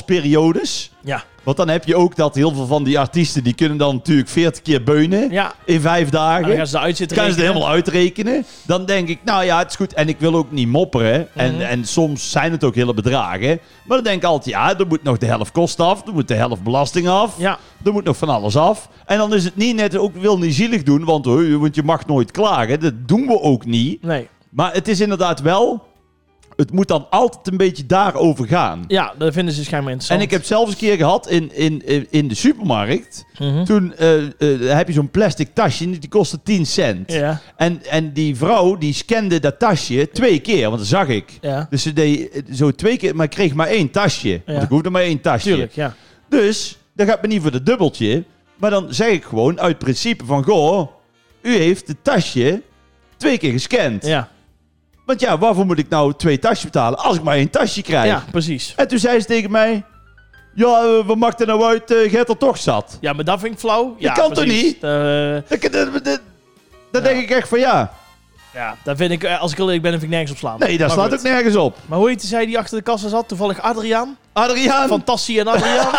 [SPEAKER 2] carnavalsperiodes.
[SPEAKER 1] ja.
[SPEAKER 2] Want dan heb je ook dat heel veel van die artiesten... die kunnen dan natuurlijk veertig keer beunen
[SPEAKER 1] ja,
[SPEAKER 2] in vijf
[SPEAKER 1] en dan
[SPEAKER 2] dagen.
[SPEAKER 1] gaan ze eruit zitten
[SPEAKER 2] Kan ze het
[SPEAKER 1] rekenen.
[SPEAKER 2] helemaal uitrekenen? Dan denk ik, nou ja, het is goed. En ik wil ook niet mopperen. En,
[SPEAKER 1] Mhm.
[SPEAKER 2] en soms zijn het ook hele bedragen. Maar dan denk ik altijd, ja, er moet nog de helft kosten af. Er moet de helft belasting af.
[SPEAKER 1] Ja,
[SPEAKER 2] Er moet nog van alles af. En dan is het niet net, ook wil niet zielig doen. Want, hoi, want je mag nooit klagen. Dat doen we ook niet.
[SPEAKER 1] nee.
[SPEAKER 2] Maar het is inderdaad wel... Het moet dan altijd een beetje daarover gaan.
[SPEAKER 1] Ja, dat vinden ze schijnbaar interessant.
[SPEAKER 2] En ik heb zelfs een keer gehad in, in, in- in de supermarkt.
[SPEAKER 1] Mhm.
[SPEAKER 2] Toen eh, eh, heb je zo'n plastic tasje. Die kostte 10 cent.
[SPEAKER 1] Ja,
[SPEAKER 2] En, en die vrouw die scande dat tasje twee keer, want dat zag ik.
[SPEAKER 1] ja.
[SPEAKER 2] Dus ze deed eh, zo twee keer, maar ik kreeg maar één tasje. Want ik hoefde maar één tasje.
[SPEAKER 1] Tuurlijk, ja.
[SPEAKER 2] Dus dat gaat me niet voor de dubbeltje. Maar dan zeg ik gewoon uit principe van, goh, u heeft het tasje twee keer gescand.
[SPEAKER 1] Ja,
[SPEAKER 2] Want ja, waarvoor moet ik nou twee tasjes betalen als ik maar één tasje krijg?
[SPEAKER 1] ja precies.
[SPEAKER 2] En toen zei ze tegen mij, ja, eh, wat maakt er nou uit, eh, je hebt er toch zat.
[SPEAKER 1] Ja, maar dat vind ik flauw. Ja,
[SPEAKER 2] kan toch
[SPEAKER 1] precies.
[SPEAKER 2] niet?
[SPEAKER 1] Eh,
[SPEAKER 2] Dat, dat, dat- dat
[SPEAKER 1] Ja.
[SPEAKER 2] denk ik echt van, ja,
[SPEAKER 1] Ja, daar vind ik, eh, als ik heel eerlijk ben, dan vind ik nergens op slaan.
[SPEAKER 2] nee, dat
[SPEAKER 1] Maar
[SPEAKER 2] slaat
[SPEAKER 1] goed.
[SPEAKER 2] ook nergens op.
[SPEAKER 1] Maar hoe heet zij die achter de kassa zat? Toevallig Adriaan.
[SPEAKER 2] Adriaan,
[SPEAKER 1] Van Tassie en Adriaan.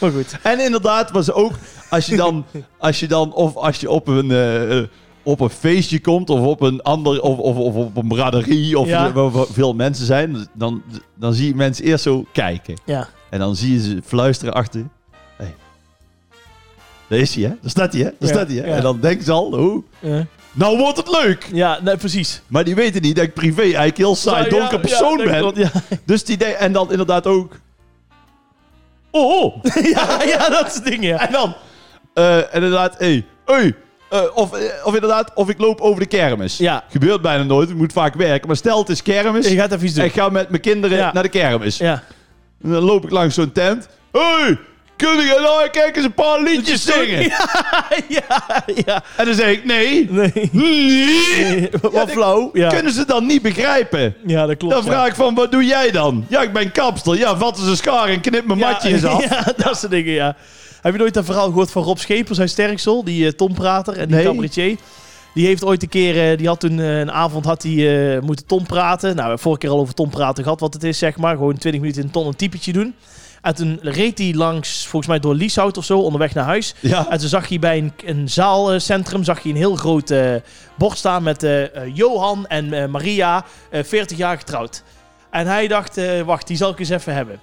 [SPEAKER 1] maar goed.
[SPEAKER 2] En inderdaad was ook, als je dan, als je dan of als je op een, eh, eh, op een feestje komt, of op een ander, of, of, of op een braderie, of
[SPEAKER 1] Ja.
[SPEAKER 2] waar waar veel mensen zijn, dan, dan zie je mensen eerst zo kijken.
[SPEAKER 1] Ja.
[SPEAKER 2] En dan zie je ze fluisteren achter. Hey. Daar is hij, hè? Daar staat hij, hè? Daar
[SPEAKER 1] Ja,
[SPEAKER 2] staat hij, hè?
[SPEAKER 1] ja.
[SPEAKER 2] En dan denken ze al, oh,
[SPEAKER 1] Eh,
[SPEAKER 2] nou wordt het leuk!
[SPEAKER 1] ja, nee, precies. Nou
[SPEAKER 2] Maar die weten niet dat ik privé eigenlijk heel saai,
[SPEAKER 1] Ja,
[SPEAKER 2] donker
[SPEAKER 1] ja,
[SPEAKER 2] persoon
[SPEAKER 1] ja, dat
[SPEAKER 2] ben.
[SPEAKER 1] klopt, Ja,
[SPEAKER 2] Dus die de- en dan inderdaad ook... Oh, oh.
[SPEAKER 1] ja, ja, dat soort dingen, ja.
[SPEAKER 2] En dan, eh, en inderdaad, hé, hey, hey, eh, of, eh, of inderdaad, of ik loop over de kermis.
[SPEAKER 1] Ja.
[SPEAKER 2] Gebeurt bijna nooit, ik moet vaak werken. Maar stel het is kermis
[SPEAKER 1] Je gaat even iets
[SPEAKER 2] en
[SPEAKER 1] doen.
[SPEAKER 2] ik ga met mijn kinderen
[SPEAKER 1] Ja.
[SPEAKER 2] naar de kermis.
[SPEAKER 1] Ja.
[SPEAKER 2] En dan loop ik langs zo'n tent. hey, kunnen jullie nou kijk eens een paar liedjes zingen?
[SPEAKER 1] ja, ja.
[SPEAKER 2] En dan zeg ik, nee.
[SPEAKER 1] Nee.
[SPEAKER 2] Nee.
[SPEAKER 1] Wat
[SPEAKER 2] Ja, dat
[SPEAKER 1] flauw. Ja.
[SPEAKER 2] Kunnen ze dan niet begrijpen?
[SPEAKER 1] ja, dat klopt.
[SPEAKER 2] Dan
[SPEAKER 1] ja.
[SPEAKER 2] vraag ik van, wat doe jij dan? Ja, ik ben kapster. Ja, vat eens een schaar en knip mijn
[SPEAKER 1] Ja,
[SPEAKER 2] matje eens af.
[SPEAKER 1] Ja, dat soort dingen, ja. Heb je nooit dat verhaal gehoord van Rob Schepers uit Sterksel? Die eh, tomprater en die
[SPEAKER 2] Nee.
[SPEAKER 1] cabaretier. Die heeft ooit een keer, eh, die had toen eh, een avond had hij eh, moeten tompraten. Nou, we hebben vorige keer al over tompraten gehad, wat het is, zeg maar. Gewoon 20 minuten in ton een typetje doen. En toen reed hij langs, volgens mij door Lieshout of zo, onderweg naar huis.
[SPEAKER 2] Ja.
[SPEAKER 1] En toen zag hij bij een, een zaalcentrum zag hij een heel groot eh, bord staan met eh, eh, Johan en eh, Maria, eh, 40 jaar getrouwd. En hij dacht, eh, wacht, die zal ik eens even hebben.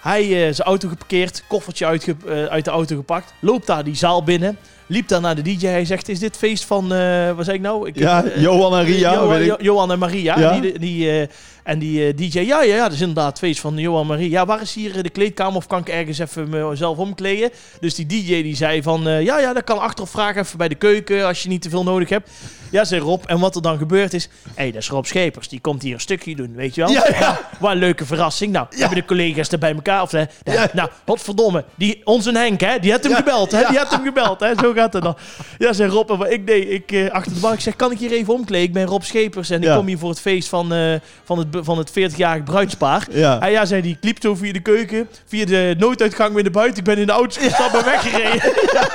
[SPEAKER 1] Hij eh, zijn auto geparkeerd, koffertje uitge- eh, uit de auto gepakt, loopt daar die zaal binnen, liep daar naar de DJ. Hij zegt, is dit feest van, eh, wat zei ik nou? Ik,
[SPEAKER 2] Ja,
[SPEAKER 1] eh,
[SPEAKER 2] Johan en Ria,
[SPEAKER 1] Johan,
[SPEAKER 2] weet ik.
[SPEAKER 1] Jo- Johan en Maria.
[SPEAKER 2] Ja.
[SPEAKER 1] En die, die, eh, en die eh, DJ, ja, ja, ja, dat is inderdaad het feest van Johan en Maria. Ja, waar is hier eh, de kleedkamer of kan ik ergens even mezelf omkleden? eh, Dus die DJ die zei van, eh, ja, ja, dat kan achterop vragen even bij de keuken als je niet te veel nodig hebt. Ja, zei Rob. En wat er dan gebeurd is... Hé, hey, dat is Rob Schepers. Die komt hier een stukje doen, weet je wel?
[SPEAKER 2] Ja, ja.
[SPEAKER 1] Wat een leuke verrassing. Nou, hebben de collega's er bij elkaar... Of, hè, de-
[SPEAKER 2] Ja.
[SPEAKER 1] Nou, godverdomme. Die, onze Henk, hè? Die had hem
[SPEAKER 2] Ja,
[SPEAKER 1] gebeld, hè?
[SPEAKER 2] ja.
[SPEAKER 1] Die had hem gebeld, hè? Zo gaat het dan. Ja, zei Rob. En wat ik deed, ik eh, achter de bar. Ik zeg, kan ik hier even omkleden? Ik ben Rob Schepers en ik
[SPEAKER 2] Ja.
[SPEAKER 1] kom hier voor het feest van, eh, van het, van het 40-jarig bruidspaar.
[SPEAKER 2] Ja.
[SPEAKER 1] Hij ja, zei die, ik liep zo via de keuken, via de nooduitgang weer naar buiten. Ik ben in de auto gestapt en weggereden. ja,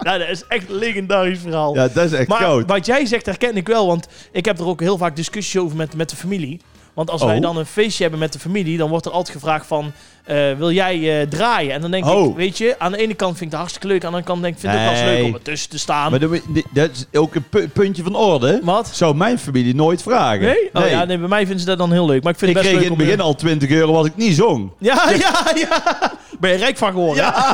[SPEAKER 1] Nou, dat is echt een legendarisch verhaal.
[SPEAKER 2] Ja, dat is echt
[SPEAKER 1] maar
[SPEAKER 2] koud.
[SPEAKER 1] wat jij zegt herken ik wel, want ik heb er ook heel vaak discussies over met, met de familie. Want als wij
[SPEAKER 2] Oh.
[SPEAKER 1] dan een feestje hebben met de familie, dan wordt er altijd gevraagd van, eh, wil jij eh, draaien? En dan denk ik,
[SPEAKER 2] Oh.
[SPEAKER 1] weet je, aan de ene kant vind ik het hartstikke leuk, aan de andere kant denk ik, vind ik het ook wel eens
[SPEAKER 2] Nee.
[SPEAKER 1] leuk om ertussen te staan.
[SPEAKER 2] Maar dat, we- dat is ook een pu- puntje van orde.
[SPEAKER 1] Wat?
[SPEAKER 2] Zou mijn familie nooit vragen.
[SPEAKER 1] Nee? Oh ja, nee, bij mij vinden ze dat dan heel leuk. Maar ik vind
[SPEAKER 2] ik
[SPEAKER 1] het best
[SPEAKER 2] kreeg in
[SPEAKER 1] leuk om...
[SPEAKER 2] het begin al 20 euro als ik niet zong.
[SPEAKER 1] Ja, ja, ja. Ben je rijk van geworden. hè?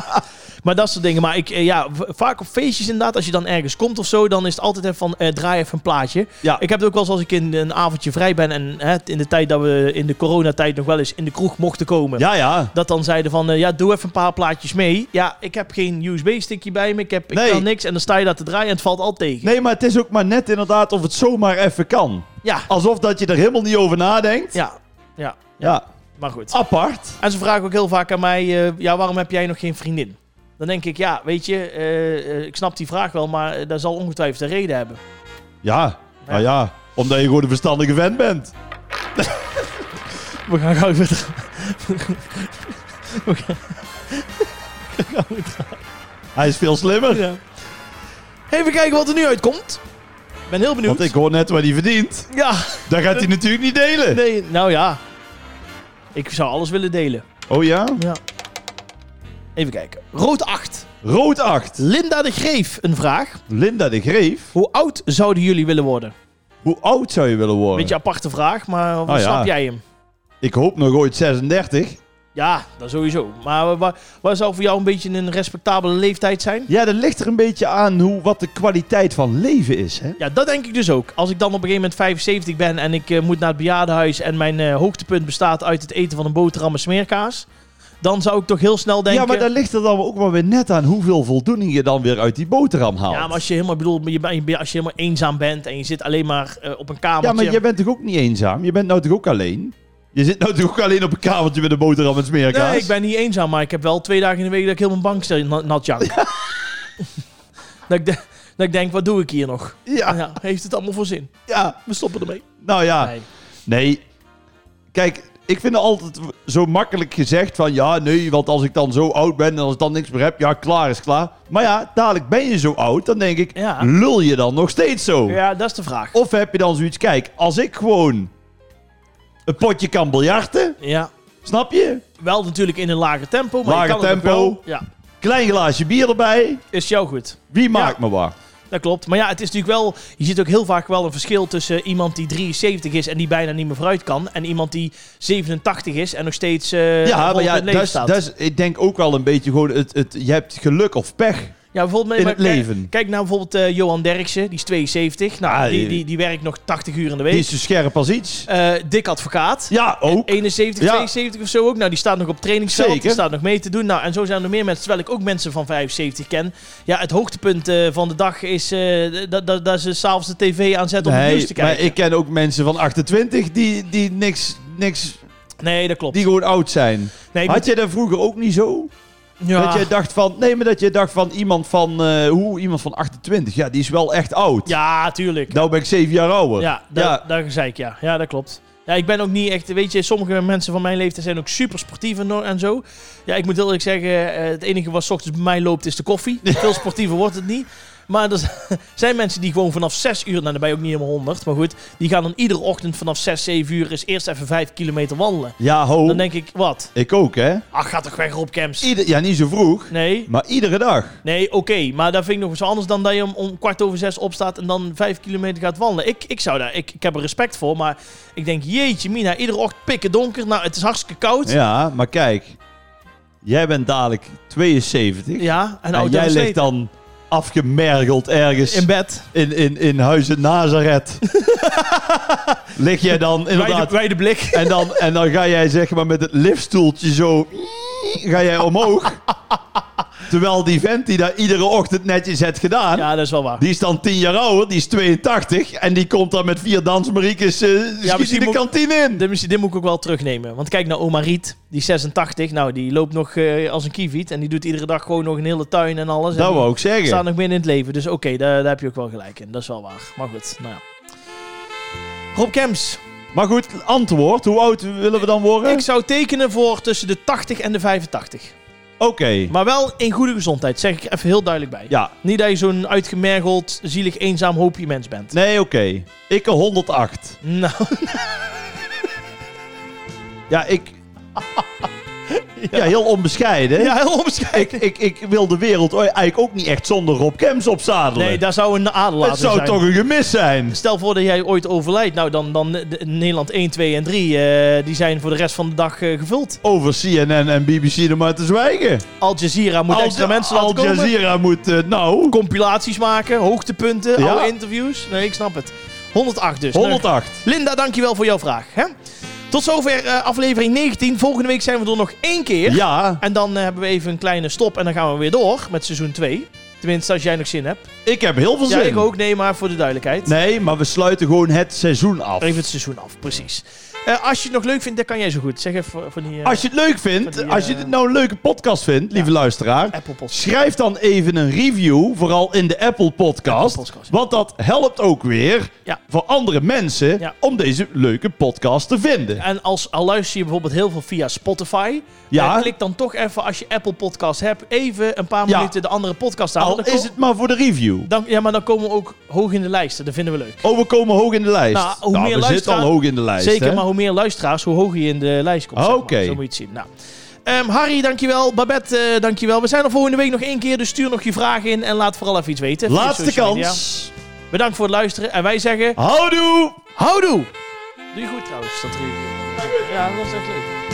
[SPEAKER 1] Maar dat soort dingen. Maar ik, eh, ja, v- vaak op feestjes inderdaad, als je dan ergens komt of zo, dan is het altijd even van eh, draai even een plaatje.
[SPEAKER 2] Ja.
[SPEAKER 1] Ik heb het ook wel eens als ik in een avondje vrij ben en hè, in de tijd dat we in de coronatijd nog wel eens in de kroeg mochten komen.
[SPEAKER 2] Ja, ja.
[SPEAKER 1] Dat dan zeiden van, eh, ja, doe even een paar plaatjes mee. Ja, ik heb geen USB-stickje bij me, ik heb ik
[SPEAKER 2] Nee.
[SPEAKER 1] kan niks. En dan sta je dat te draaien en het valt al tegen.
[SPEAKER 2] Nee, maar het is ook maar net inderdaad of het zomaar even kan.
[SPEAKER 1] Ja,
[SPEAKER 2] Alsof dat je er helemaal niet over nadenkt.
[SPEAKER 1] ja, ja,
[SPEAKER 2] Ja.
[SPEAKER 1] maar goed.
[SPEAKER 2] Apart.
[SPEAKER 1] En ze vragen ook heel vaak aan mij, eh, ja, waarom heb jij nog geen vriendin? Dan denk ik, ja, weet je, eh, eh, ik snap die vraag wel, maar eh, daar zal ongetwijfeld een reden hebben.
[SPEAKER 2] Ja. Nou ja. Omdat je gewoon een verstandige vent bent.
[SPEAKER 1] We gaan gauw weer dra- We gaan- we gaan weer dra-
[SPEAKER 2] Hij is veel slimmer.
[SPEAKER 1] Oh, Ja. Even kijken wat er nu uitkomt. Ik ben heel benieuwd.
[SPEAKER 2] Want ik hoor net wat hij verdient.
[SPEAKER 1] Ja,
[SPEAKER 2] Dat gaat hij natuurlijk niet delen.
[SPEAKER 1] nee, nou ja. Ik zou alles willen delen.
[SPEAKER 2] Oh ja?
[SPEAKER 1] Ja. Even kijken. Rood 8.
[SPEAKER 2] Rood 8.
[SPEAKER 1] Linda de Greef, een vraag.
[SPEAKER 2] Linda de Greef.
[SPEAKER 1] Hoe oud zouden jullie willen worden?
[SPEAKER 2] Hoe oud zou je willen worden?
[SPEAKER 1] Beetje aparte vraag, maar hoe
[SPEAKER 2] Ah, Oh, ja.
[SPEAKER 1] snap jij hem?
[SPEAKER 2] Ik hoop nog ooit 36.
[SPEAKER 1] Ja, dat sowieso. Maar wat, wat zou voor jou een beetje een respectabele leeftijd zijn?
[SPEAKER 2] Ja, dat ligt er een beetje aan hoe, wat de kwaliteit van leven is. Hè?
[SPEAKER 1] Ja, dat denk ik dus ook. Als ik dan op een gegeven moment 75 ben en ik eh, moet naar het bejaardenhuis en mijn eh, hoogtepunt bestaat uit het eten van een boterham en smeerkaas, dan zou ik toch heel snel denken...
[SPEAKER 2] Ja, maar daar ligt er dan ook maar weer net aan hoeveel voldoening je dan weer uit die boterham haalt.
[SPEAKER 1] Ja, maar als je helemaal, ik bedoel, je, bent- je- als je helemaal eenzaam bent en je zit alleen maar eh, op een kamertje...
[SPEAKER 2] Ja, maar jij bent toch ook niet eenzaam? Je bent nou toch ook alleen? Je zit nou toch ook alleen op een kamertje met een boterham en smeerkaas?
[SPEAKER 1] Nee, ik ben niet eenzaam, maar ik heb wel twee dagen in de week dat ik helemaal bank stel, na- nat jank. dat, ik de- dat ik denk, wat doe ik hier nog?
[SPEAKER 2] Ja,
[SPEAKER 1] Ja, heeft het allemaal voor zin?
[SPEAKER 2] ja.
[SPEAKER 1] We stoppen ermee.
[SPEAKER 2] Nou ja,
[SPEAKER 1] Nee.
[SPEAKER 2] nee. Kijk, ik vind het altijd zo makkelijk gezegd van... Ja, nee, want als ik dan zo oud ben en als ik dan niks meer heb... Ja, klaar is klaar. Maar ja, dadelijk ben je zo oud, dan denk ik...
[SPEAKER 1] Ja.
[SPEAKER 2] Lul je dan nog steeds zo?
[SPEAKER 1] Ja, dat is de vraag.
[SPEAKER 2] Of heb je dan zoiets, kijk, als ik gewoon een potje kan biljarten,
[SPEAKER 1] Ja.
[SPEAKER 2] snap je?
[SPEAKER 1] Wel natuurlijk in een lager tempo. Maar
[SPEAKER 2] Lager
[SPEAKER 1] je kan het ook
[SPEAKER 2] tempo.
[SPEAKER 1] wel- Ja,
[SPEAKER 2] Klein glaasje bier erbij,
[SPEAKER 1] is jou goed.
[SPEAKER 2] wie maakt me wat?
[SPEAKER 1] Dat klopt. Maar ja, het is natuurlijk wel... Je ziet ook heel vaak wel een verschil tussen iemand die 73 is en die bijna niet meer vooruit kan. En iemand die 87 is en nog steeds eh
[SPEAKER 2] ja,
[SPEAKER 1] rond
[SPEAKER 2] maar ja,
[SPEAKER 1] het
[SPEAKER 2] dat
[SPEAKER 1] leven
[SPEAKER 2] is,
[SPEAKER 1] staat.
[SPEAKER 2] dat is, ik denk ook wel een beetje gewoon, het, het, je hebt geluk of pech.
[SPEAKER 1] ja, bijvoorbeeld,
[SPEAKER 2] in
[SPEAKER 1] maar
[SPEAKER 2] het
[SPEAKER 1] kijk-
[SPEAKER 2] leven.
[SPEAKER 1] Kijk, nou bijvoorbeeld eh, Johan Derksen, die is 72. Nou,
[SPEAKER 2] Ah,
[SPEAKER 1] die,
[SPEAKER 2] die-
[SPEAKER 1] die, die werkt nog 80 uur in de
[SPEAKER 2] Die
[SPEAKER 1] week.
[SPEAKER 2] is zo scherp als iets.
[SPEAKER 1] Eh, dik advocaat.
[SPEAKER 2] Ja, ook.
[SPEAKER 1] 71,
[SPEAKER 2] Ja.
[SPEAKER 1] 72 of zo ook. Nou, die staat nog op trainingsveld. Die
[SPEAKER 2] Zeker.
[SPEAKER 1] staat nog mee te doen. Nou, en zo zijn er meer mensen. Terwijl ik ook mensen van 75 ken. Ja, het hoogtepunt eh, van de dag is eh, dat, dat, dat ze s'avonds de tv aanzetten om het nieuws
[SPEAKER 2] Nee,
[SPEAKER 1] te
[SPEAKER 2] maar
[SPEAKER 1] kijken.
[SPEAKER 2] ik ken ook mensen van 28 die, die niks, niks,
[SPEAKER 1] Nee, dat klopt.
[SPEAKER 2] die gewoon oud zijn.
[SPEAKER 1] nee, ik
[SPEAKER 2] Had jij dat vroeger ook niet zo?
[SPEAKER 1] moet- ja.
[SPEAKER 2] Dat jij dacht van, nee, maar dat je dacht van iemand van, eh, hoe, iemand van 28, ja, die is wel echt oud.
[SPEAKER 1] ja, tuurlijk.
[SPEAKER 2] Nou ben ik zeven jaar ouder.
[SPEAKER 1] ja, da-
[SPEAKER 2] Ja.
[SPEAKER 1] daar zei ik ja. Ja, dat klopt. Ja, ik ben ook niet echt... Weet je, sommige mensen van mijn leeftijd zijn ook super sportief en, no- en zo. Ja, ik moet heel eerlijk zeggen... eh, het enige wat 's ochtends bij mij loopt is de koffie. Veel sportiever wordt het niet. Maar er z- zijn mensen die gewoon vanaf 6 uur... Nou, dan ben je ook niet helemaal 100. Maar goed, die gaan dan iedere ochtend vanaf 6, 7 uur... eens eerst even 5 kilometer wandelen.
[SPEAKER 2] Ja, ho.
[SPEAKER 1] Dan denk ik, wat?
[SPEAKER 2] Ik ook, hè?
[SPEAKER 1] Ach, ga toch weg, Rob Camps.
[SPEAKER 2] Ieder, ja, niet zo vroeg,
[SPEAKER 1] Nee,
[SPEAKER 2] maar iedere dag.
[SPEAKER 1] nee, oké. Maar dat vind ik nog eens anders dan dat je om, om kwart over zes opstaat en dan vijf kilometer gaat wandelen. Ik, ik zou daar, ik, ik heb er respect voor, maar ik denk, jeetje mina, iedere ochtend pikken donker. Nou, het is hartstikke koud. Ja,
[SPEAKER 2] Ja, maar kijk. Jij bent dadelijk 72.
[SPEAKER 1] en,
[SPEAKER 2] en
[SPEAKER 1] oud
[SPEAKER 2] jij ligt
[SPEAKER 1] versleten.
[SPEAKER 2] dan afgemergeld ergens
[SPEAKER 1] in
[SPEAKER 2] in,
[SPEAKER 1] bed.
[SPEAKER 2] in, in, Huizen Nazareth. Lig jij dan
[SPEAKER 1] Wijde,
[SPEAKER 2] inderdaad...
[SPEAKER 1] wijde blik.
[SPEAKER 2] En dan, en dan ga jij zeg maar met het liftstoeltje zo... Ga jij omhoog. Terwijl die vent die dat iedere ochtend netjes heeft gedaan,
[SPEAKER 1] Ja, dat is wel waar.
[SPEAKER 2] die is dan 10 jaar ouder, die is 82. En die komt dan met vier dansmariekes eh
[SPEAKER 1] misschien
[SPEAKER 2] schiet die de
[SPEAKER 1] moet- Dus-
[SPEAKER 2] kantine in.
[SPEAKER 1] Dit, moet- dit moet ik ook wel terugnemen. Want kijk naar oma Riet, die is 86. Nou, die loopt nog eh, als een kieviet. En die doet iedere dag gewoon nog een hele tuin en alles.
[SPEAKER 2] Dat
[SPEAKER 1] en
[SPEAKER 2] wou ik zeggen.
[SPEAKER 1] staat nog midden in het leven. Dus oké, daar, daar heb je ook wel gelijk in. Dat is wel waar. Maar goed, nou ja. Rob Kems,
[SPEAKER 2] Maar goed, antwoord. Hoe oud willen we dan worden?
[SPEAKER 1] ik zou tekenen voor tussen de 80 en de 85.
[SPEAKER 2] Oké.
[SPEAKER 1] Maar wel in goede gezondheid, zeg ik even heel duidelijk bij.
[SPEAKER 2] Ja.
[SPEAKER 1] Niet dat je zo'n uitgemergeld, zielig, eenzaam hoopje mens bent.
[SPEAKER 2] Nee, oké. Ik een 108.
[SPEAKER 1] Nou,
[SPEAKER 2] Ja, ik... Ja, heel onbescheiden.
[SPEAKER 1] ja, heel onbescheiden.
[SPEAKER 2] Ik, ik, ik wil de wereld eigenlijk ook niet echt zonder Rob Kems opzadelen.
[SPEAKER 1] Nee, daar zou een adelaar
[SPEAKER 2] Het zou
[SPEAKER 1] zijn.
[SPEAKER 2] toch een gemis zijn?
[SPEAKER 1] Stel voor dat jij ooit overlijdt. Nou, dan, dan eh, de- Nederland 1, 2 en 3, eh, die zijn voor de rest van de dag eh, gevuld.
[SPEAKER 2] Over CNN en BBC er maar te zwijgen.
[SPEAKER 1] Al Jazeera moet
[SPEAKER 2] Al-
[SPEAKER 1] extra mensen
[SPEAKER 2] Al
[SPEAKER 1] laten komen.
[SPEAKER 2] Jazeera moet... eh, nou,
[SPEAKER 1] Compilaties maken, hoogtepunten,
[SPEAKER 2] Ja.
[SPEAKER 1] oude interviews. Nee, ik snap het. 108 dus.
[SPEAKER 2] 108.
[SPEAKER 1] Nou, Linda, dankjewel voor jouw vraag. Hè? Tot zover eh, aflevering 19. Volgende week zijn we er nog één keer.
[SPEAKER 2] Ja,
[SPEAKER 1] En dan eh, hebben we even een kleine stop en dan gaan we weer door met seizoen 2. Tenminste, als jij nog zin hebt.
[SPEAKER 2] ik heb heel veel
[SPEAKER 1] Ja,
[SPEAKER 2] zin.
[SPEAKER 1] ik ook. Nee, maar voor de duidelijkheid.
[SPEAKER 2] Nee, maar we sluiten gewoon het seizoen af.
[SPEAKER 1] Even het seizoen af, precies. Eh, als je het nog leuk vindt, dat kan jij zo goed. Zeg even van die eh,
[SPEAKER 2] Als je het leuk vindt,
[SPEAKER 1] Van die,
[SPEAKER 2] als je
[SPEAKER 1] eh,
[SPEAKER 2] dit nou een leuke podcast vindt, lieve luisteraar...
[SPEAKER 1] Apple Podcast.
[SPEAKER 2] Schrijf dan even een review, vooral in de Apple Podcast.
[SPEAKER 1] Apple Podcast, ja.
[SPEAKER 2] Want dat helpt ook weer
[SPEAKER 1] Ja.
[SPEAKER 2] voor andere mensen
[SPEAKER 1] Ja.
[SPEAKER 2] om deze leuke podcast te vinden.
[SPEAKER 1] En als, al luister je bijvoorbeeld heel veel via Spotify,
[SPEAKER 2] Ja.
[SPEAKER 1] eh, klik dan toch even, als je Apple Podcast hebt, even een paar
[SPEAKER 2] Ja.
[SPEAKER 1] minuten de andere podcast aan.
[SPEAKER 2] Al
[SPEAKER 1] want dan
[SPEAKER 2] is
[SPEAKER 1] ko-
[SPEAKER 2] het maar voor de review.
[SPEAKER 1] dan, ja, maar dan komen we ook hoog in de lijsten. Dat vinden we leuk.
[SPEAKER 2] Oh, we komen hoog in de lijst.
[SPEAKER 1] Nou, hoe meer
[SPEAKER 2] we zitten
[SPEAKER 1] luisteraar-
[SPEAKER 2] al hoog in de lijst.
[SPEAKER 1] Zeker,
[SPEAKER 2] hè?
[SPEAKER 1] maar hoe meer luisteraars, hoe hoger je in de lijst komt.
[SPEAKER 2] Ah,
[SPEAKER 1] zeg maar.
[SPEAKER 2] oké.
[SPEAKER 1] Zo moet je het zien. Nou. Ehm, Harry, dankjewel. Babette, eh, dankjewel. We zijn er volgende week nog één keer, dus stuur nog je vragen in en laat vooral even iets weten. via
[SPEAKER 2] Laatste
[SPEAKER 1] social media.
[SPEAKER 2] kans.
[SPEAKER 1] Bedankt voor het luisteren en wij zeggen,
[SPEAKER 2] Houdoe!
[SPEAKER 1] houdoe! Doe je goed trouwens, dat review. Ja, dat was echt leuk.